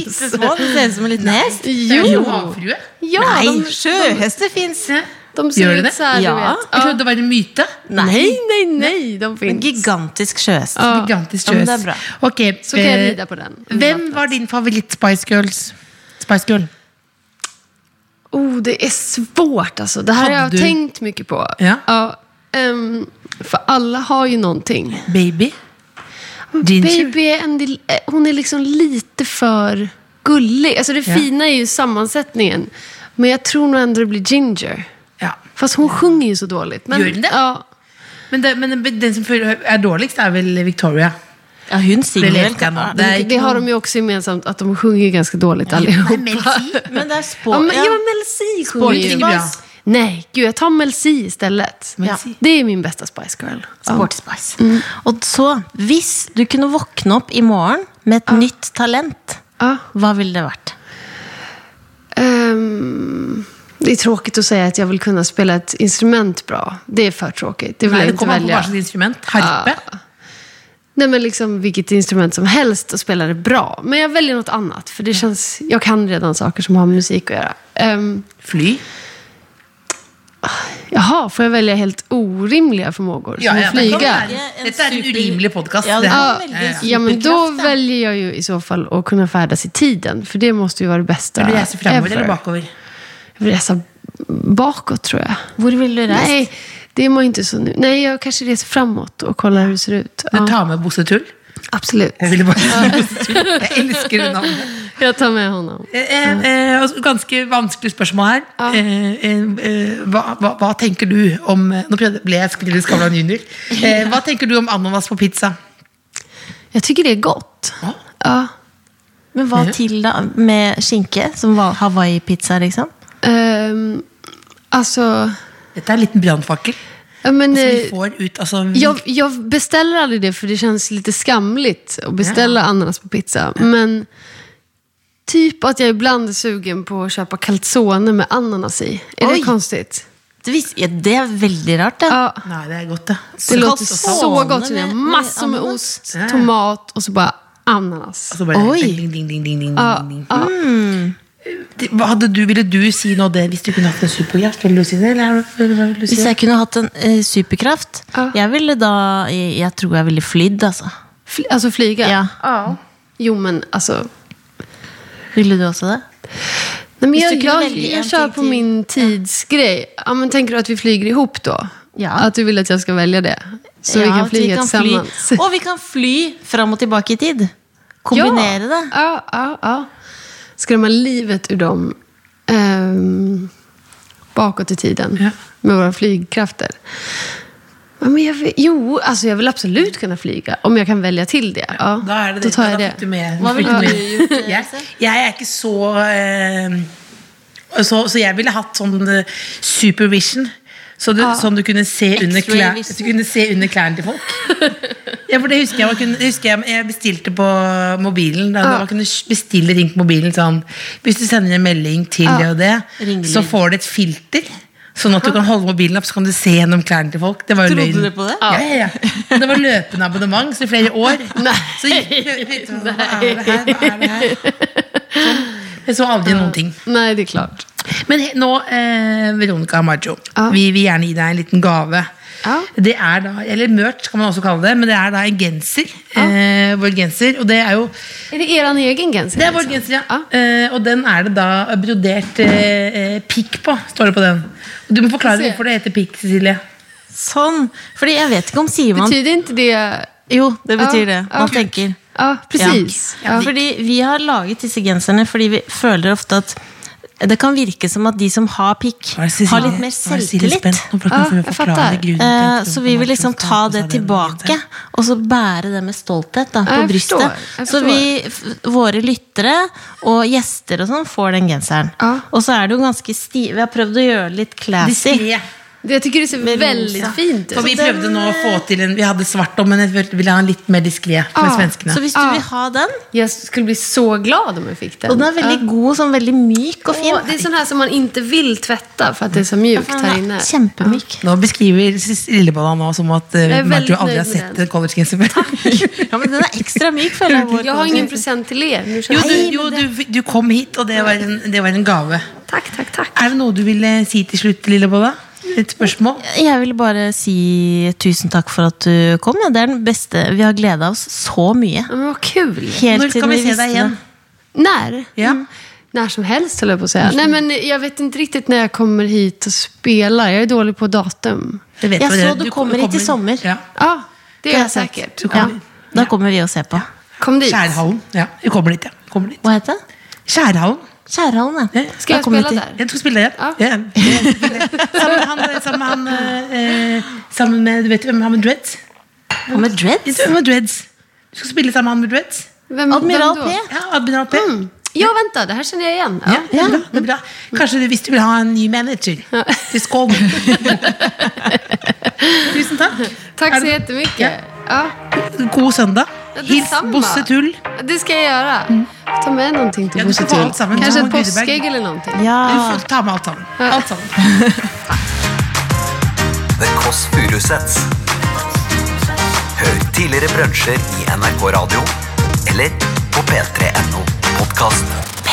Speaker 3: Det ser ut som en liten hest.
Speaker 5: Jo.
Speaker 4: Havfrue?
Speaker 5: Ja,
Speaker 3: Nei,
Speaker 5: de,
Speaker 3: sjøhester fins.
Speaker 5: de
Speaker 4: Gör
Speaker 5: ser
Speaker 4: det?
Speaker 5: ut så här,
Speaker 3: Ja.
Speaker 5: du vet. Ah,
Speaker 4: Jeg trodde det var en myte.
Speaker 5: Nej, nej, nej. De
Speaker 3: En
Speaker 5: finns.
Speaker 3: gigantisk sjøhest.
Speaker 5: Ja.
Speaker 4: Gigantisk
Speaker 3: Ja, men det er
Speaker 4: sjøhest.
Speaker 3: bra.
Speaker 4: Ok,
Speaker 5: Så kan jeg
Speaker 4: eh,
Speaker 5: rida på den.
Speaker 4: Hvem var din favoritt-Spice Girls? Spice Girl?
Speaker 5: Oh, det är svårt alltså. Det här
Speaker 4: Hade
Speaker 5: har jag
Speaker 4: du-
Speaker 5: tänkt mycket på.
Speaker 4: Ja.
Speaker 5: ehm, för alla har ju någonting.
Speaker 4: Baby? Ginger?
Speaker 5: Baby är en del, eh, hon är liksom lite för gullig. Alltså det
Speaker 4: Ja.
Speaker 5: fina är ju sammansättningen. Men jag tror nog ändå det blir Ginger.
Speaker 4: Ja.
Speaker 5: Fast hon sjunger ju så dåligt. Men,
Speaker 4: Gör den det?
Speaker 5: Ja.
Speaker 4: Men, det, men den som er dårligst, er vel Victoria.
Speaker 3: Ja, hun synger
Speaker 4: Det
Speaker 3: vel
Speaker 4: leste jeg nå.
Speaker 3: kanskje.
Speaker 4: Det er
Speaker 5: Det,
Speaker 4: ikke
Speaker 5: har de ju också gemensamt, att de sjunger ganska dåligt allihopa.
Speaker 4: Nei, Mel C.
Speaker 3: Men det er spå...
Speaker 5: Ja, men, ja,
Speaker 3: ja.
Speaker 5: men Mel C sjunger
Speaker 4: Sporting
Speaker 5: ju.
Speaker 4: är bra.
Speaker 5: Nej, gud jag tar Mel C istället.
Speaker 4: Mel
Speaker 5: Ja.
Speaker 4: C.
Speaker 5: Det är min bästa Spice Girl. Ja.
Speaker 3: Sporty Spice. Mm. Og så, hvis du kunne våkne opp i morgen med et nytt talent,
Speaker 5: Ja.
Speaker 3: hva ville det vært?
Speaker 5: Ehm, det är tråkigt att säga att jag vill kunna spela ett instrument bra. Det är för tråkigt. Det vill
Speaker 4: Nei,
Speaker 5: jag
Speaker 4: det
Speaker 5: inte
Speaker 4: kom an på hva
Speaker 5: välja.
Speaker 4: slags instrument. Harpe?
Speaker 5: Nej, men liksom vilket instrument som helst och spela det bra. Men jag väljer något annat, för det känns... Jag kan redan saker som har med musik att göra. Ehm,
Speaker 4: Fly?
Speaker 5: jaha, får jag välja helt orimliga förmågor? som att
Speaker 4: det kan
Speaker 5: flyga?
Speaker 4: være. Dette er en urimelig podkast.
Speaker 3: Ja,
Speaker 5: Ja,
Speaker 3: det är
Speaker 5: ja, men då
Speaker 3: superkraft, ja.
Speaker 5: väljer jag ju i så fall att kunna färdas i tiden. För det måste ju vara det bästa
Speaker 4: Vil du reise framover
Speaker 5: ever.
Speaker 4: eller bakover?
Speaker 5: Jag vill resa bakåt, tror jag.
Speaker 3: Hvor ville du reist?
Speaker 5: Nej, det är man ju inte så nu. Nej, jeg kanske reser framåt och kollar hur det ser ut.
Speaker 4: Du
Speaker 5: Ja,
Speaker 4: tar med Bossetull?
Speaker 5: absolut.
Speaker 4: Jeg ville bare si Bossetull. Jeg elsker det navnet.
Speaker 5: Jag tar med honom.
Speaker 4: Eh, eh, eh, altså, ganske vanskelig spørsmål her. Eh, eh, eh, hva, hva, hva tenker du om eh, Nå prøvde, ble jeg skrevet Skavlan junior. Eh, hva tenker du om ananas på pizza?
Speaker 5: Jag tycker det är gott.
Speaker 4: Ja.
Speaker 5: Ja.
Speaker 3: Men hva til da med skinke? Som var Hawaii-pizza, liksom?
Speaker 5: Ehm, alltså,
Speaker 4: Dette er en liten brannfakkel.
Speaker 5: ja, men,
Speaker 4: Som vi
Speaker 5: eh,
Speaker 4: får ut altså,
Speaker 5: jag, jag beställer aldrig det för det känns lite skamligt att beställa ananas på pizza. Men typ att jag ibland är sugen på att köpa calzone med ananas i. Är
Speaker 3: Oj.
Speaker 5: det konstigt?
Speaker 3: Det, vis, ja, det er veldig rart, det.
Speaker 5: Ja,
Speaker 4: Nei, det er godt, det.
Speaker 5: det
Speaker 3: Så
Speaker 5: låter
Speaker 3: calzone
Speaker 5: så gott.
Speaker 3: med- med
Speaker 5: Massor med
Speaker 3: ananas.
Speaker 5: ost,
Speaker 4: Ja.
Speaker 5: tomat och så bara ananas.
Speaker 4: Og så bare
Speaker 3: Oi.
Speaker 4: ding, ding, ding, ding, ding, ding, ding, ding. Det- Hva hadde du, ville du si nå det hvis du kunne hatt en superkraft? Ville du si det, eller eller hva ville du si?
Speaker 3: Hvis jeg kunne hatt en eh, superkraft
Speaker 5: Ja.
Speaker 3: Jeg ville da jeg, jeg tror jeg ville flydd, altså.
Speaker 5: Fly, alltså flyga?
Speaker 3: Ja.
Speaker 5: Jo, men alltså...
Speaker 3: Ville du også det?
Speaker 5: Nej, men
Speaker 3: Hvis
Speaker 5: jag,
Speaker 3: du kunde
Speaker 5: jag,
Speaker 3: välja en
Speaker 5: jag kör
Speaker 3: till-
Speaker 5: på
Speaker 3: till-
Speaker 5: min tidsgrej. Ja, men tänker du att vi flyger ihop då?
Speaker 3: Ja.
Speaker 5: Att du vill att jag ska välja det? Så vi
Speaker 3: Ja,
Speaker 5: kan
Speaker 3: at vi
Speaker 5: flyga
Speaker 3: kan fly-
Speaker 5: tillsammans.
Speaker 3: Og vi kan fly fram og tilbake i tid. Kombinere det.
Speaker 5: Ja, ja, ja. Skrämma livet ur dem ehm, bakåt i tiden
Speaker 4: Ja.
Speaker 5: med våra flygkrafter. Ja, men jag vill, jo, alltså jag vill absolut kunna flyga om jag kan välja till det. Ja,
Speaker 4: Da er det
Speaker 5: då
Speaker 4: det.
Speaker 5: tar
Speaker 4: Da
Speaker 5: jag det.
Speaker 4: fikk du med.
Speaker 3: Hva ville
Speaker 4: fikk
Speaker 3: du
Speaker 4: med.
Speaker 3: gjort?
Speaker 4: Jeg,
Speaker 3: Else?
Speaker 4: jeg er ikke så eh, så, så jeg ville hatt sånn eh, supervision. Så du, Sånn du kunne se under,
Speaker 3: Ah. X-ray
Speaker 4: klær,
Speaker 3: vision.
Speaker 4: du kunne se under klærne til folk. Ja, for det husker jeg, man kunne, det husker jeg, jeg bestilte på mobilen. Da,
Speaker 3: Ah.
Speaker 4: da man kunne bestille ting på mobilen sånn Hvis du sender en melding til det og det,
Speaker 3: Ah. Ringelyd. Ah.
Speaker 4: så får du et filter. Sånn at du kan holde mobilen opp, så kan du se gjennom klærne til folk. Det var jo
Speaker 3: Trodde
Speaker 4: løgn.
Speaker 3: du på det? Ah.
Speaker 4: Ja, ja, ja. Det var løpende abonnement, så i flere år.
Speaker 5: Nei.
Speaker 4: Så gikk jeg ut og hva er det her, hva er det her? Sånn. Jeg så aldri noen ting.
Speaker 5: Nei, det er klart.
Speaker 4: Men he- nå, eh, Veronica Maggio,
Speaker 5: Ja.
Speaker 4: vi vil gjerne gi deg en liten gave.
Speaker 5: Ja.
Speaker 4: Det er da, Eller merch kan man også kalle det, men det er da en genser. Eh, vår genser, og det er jo
Speaker 5: Är det eran egen genser?
Speaker 4: Det er vår
Speaker 5: liksom?
Speaker 4: genser, ja. Eh, og den er det da brodert eh, eh, pikk på, står det på den. Du må forklare
Speaker 5: Se.
Speaker 4: hvorfor det heter pikk, Cecilie.
Speaker 3: Sånn! Fordi jeg vet ikke om sier man
Speaker 5: Betyder inte det...
Speaker 3: Jo, det betyr
Speaker 5: Ja,
Speaker 3: det.
Speaker 5: ja.
Speaker 3: Man tenker.
Speaker 5: Ja, precis.
Speaker 3: Ja.
Speaker 5: Ja.
Speaker 3: Fordi vi har laget disse genserne fordi vi føler ofte at det kan virke som at de som har pikk, har litt mer selvtillit.
Speaker 5: Ja, jeg fatter.
Speaker 3: Eh, Så vi vil liksom ta
Speaker 4: sånn
Speaker 3: det tilbake, og så bære det med stolthet da, på
Speaker 5: Ja, jeg forstår,
Speaker 3: brystet.
Speaker 5: jeg
Speaker 3: Så
Speaker 5: forstår.
Speaker 3: vi, f- våre lyttere og gjester og sånn får den genseren.
Speaker 5: Ja.
Speaker 3: Og så er det jo ganske sti... Vi har prøvd å gjøre det litt classy.
Speaker 4: Diskré.
Speaker 5: Det- Jag tycker det ser väldigt fint
Speaker 4: For
Speaker 5: ut.
Speaker 4: vi prøvde nå å få til en Vi hadde svart om, men jeg følte vi ville ha en litt mer diskré med
Speaker 5: Ah,
Speaker 4: svenskene.
Speaker 3: Så hvis du
Speaker 5: Ja.
Speaker 3: vil ha den,
Speaker 5: Jag skulle bli så glad om jag fick den.
Speaker 3: og den er veldig god, sånn veldig myk og
Speaker 5: Ja.
Speaker 3: fin.
Speaker 5: Åh, det är sån här som man inte vill tvätta för att det är så mjukt
Speaker 3: Den
Speaker 5: här
Speaker 3: er
Speaker 5: inne.
Speaker 3: Kjempemyk.
Speaker 4: Nå beskriver Sis- Lillebolla nå som at eh,
Speaker 5: Jeg er
Speaker 4: hun
Speaker 5: veldig
Speaker 4: Martin aldri har
Speaker 5: nøyd med
Speaker 4: sett
Speaker 5: den.
Speaker 4: en collegegenser før.
Speaker 3: Ja, men den er ekstra myk, føler jeg. vår
Speaker 5: Jag har ingen
Speaker 3: kvalitet.
Speaker 5: present till er. Nu
Speaker 4: Jo,
Speaker 5: känner
Speaker 4: du,
Speaker 5: jag-
Speaker 4: jo du, du kom hit, og det var, en, det var en gave.
Speaker 5: Tack, tack, tack.
Speaker 4: Er det noe du ville si til slutt, Lillebolla? Et spørsmål?
Speaker 3: Jeg vil bare si tusen takk for at du kom. Ja. Det er den beste. Vi har gleda oss så mye.
Speaker 5: Ja, men vad kul.
Speaker 3: Helt
Speaker 4: Når kan
Speaker 3: siden
Speaker 4: vi se
Speaker 3: visste
Speaker 4: deg igjen?
Speaker 3: det.
Speaker 5: När?
Speaker 4: Ja.
Speaker 3: Mm.
Speaker 5: När som helst höll jag på att säga. Nej, men jag vet inte riktigt när jag kommer hit och spelar. Jag är dålig på datum.
Speaker 4: Det vet
Speaker 3: Jeg
Speaker 4: hva det er.
Speaker 3: så du kommer hit i sommer.
Speaker 4: Ja.
Speaker 5: Ja, det
Speaker 3: Det
Speaker 5: gör
Speaker 3: har jeg
Speaker 5: jag
Speaker 3: sett.
Speaker 5: säkert.
Speaker 4: Du
Speaker 3: Ja.
Speaker 4: kommer.
Speaker 3: Da kommer vi og ser på.
Speaker 5: Kom dit.
Speaker 4: Skjærhallen. Ja, du kommer dit, ja. Kommer dit.
Speaker 3: Hva heter det?
Speaker 4: Skjærhallen.
Speaker 3: Skjærhallen, ja.
Speaker 4: Ja.
Speaker 5: Ska
Speaker 3: Da
Speaker 5: jag
Speaker 3: kommer vi
Speaker 5: spela
Speaker 3: till-
Speaker 5: där?
Speaker 4: Jeg skal spille der.
Speaker 5: Ja.
Speaker 4: Ja. Ja. Sammen med han, sammen med, han eh, eh, sammen med Du vet hvem han med dreads?
Speaker 3: Og med dreads?
Speaker 4: Hvem med dreads? Du skal spille sammen med han med dreads?
Speaker 5: Vem,
Speaker 3: Admiral
Speaker 5: vem
Speaker 3: P.
Speaker 5: då?
Speaker 4: Ja, Admiral P.
Speaker 5: Ja, vänta, det här känner jag igen. Mm. Ja.
Speaker 4: Ja, det er bra, det er bra. Kanskje du, hvis du vil ha en ny manager til Skål. Tusen takk.
Speaker 5: Tack
Speaker 4: Er
Speaker 5: så
Speaker 4: det-
Speaker 5: jättemycket. Ja.
Speaker 4: God søndag.
Speaker 5: Ja, det
Speaker 4: Hils
Speaker 5: samme.
Speaker 4: Bosse Tull.
Speaker 5: Det ska jag göra. Ta med någonting till
Speaker 4: Ja, du
Speaker 5: Bosse
Speaker 4: får ta
Speaker 5: Tull.
Speaker 4: allt samman.
Speaker 5: Kanske
Speaker 4: Ja,
Speaker 5: ett
Speaker 4: Gudeberg.
Speaker 5: påskägg eller någonting.
Speaker 4: Du
Speaker 3: Ja.
Speaker 4: får ta med alt sammen. Alt sammen.
Speaker 2: The Kåss Furuseths. Hør tidligere brunsjer i NRK Radio eller på p3.no podkast.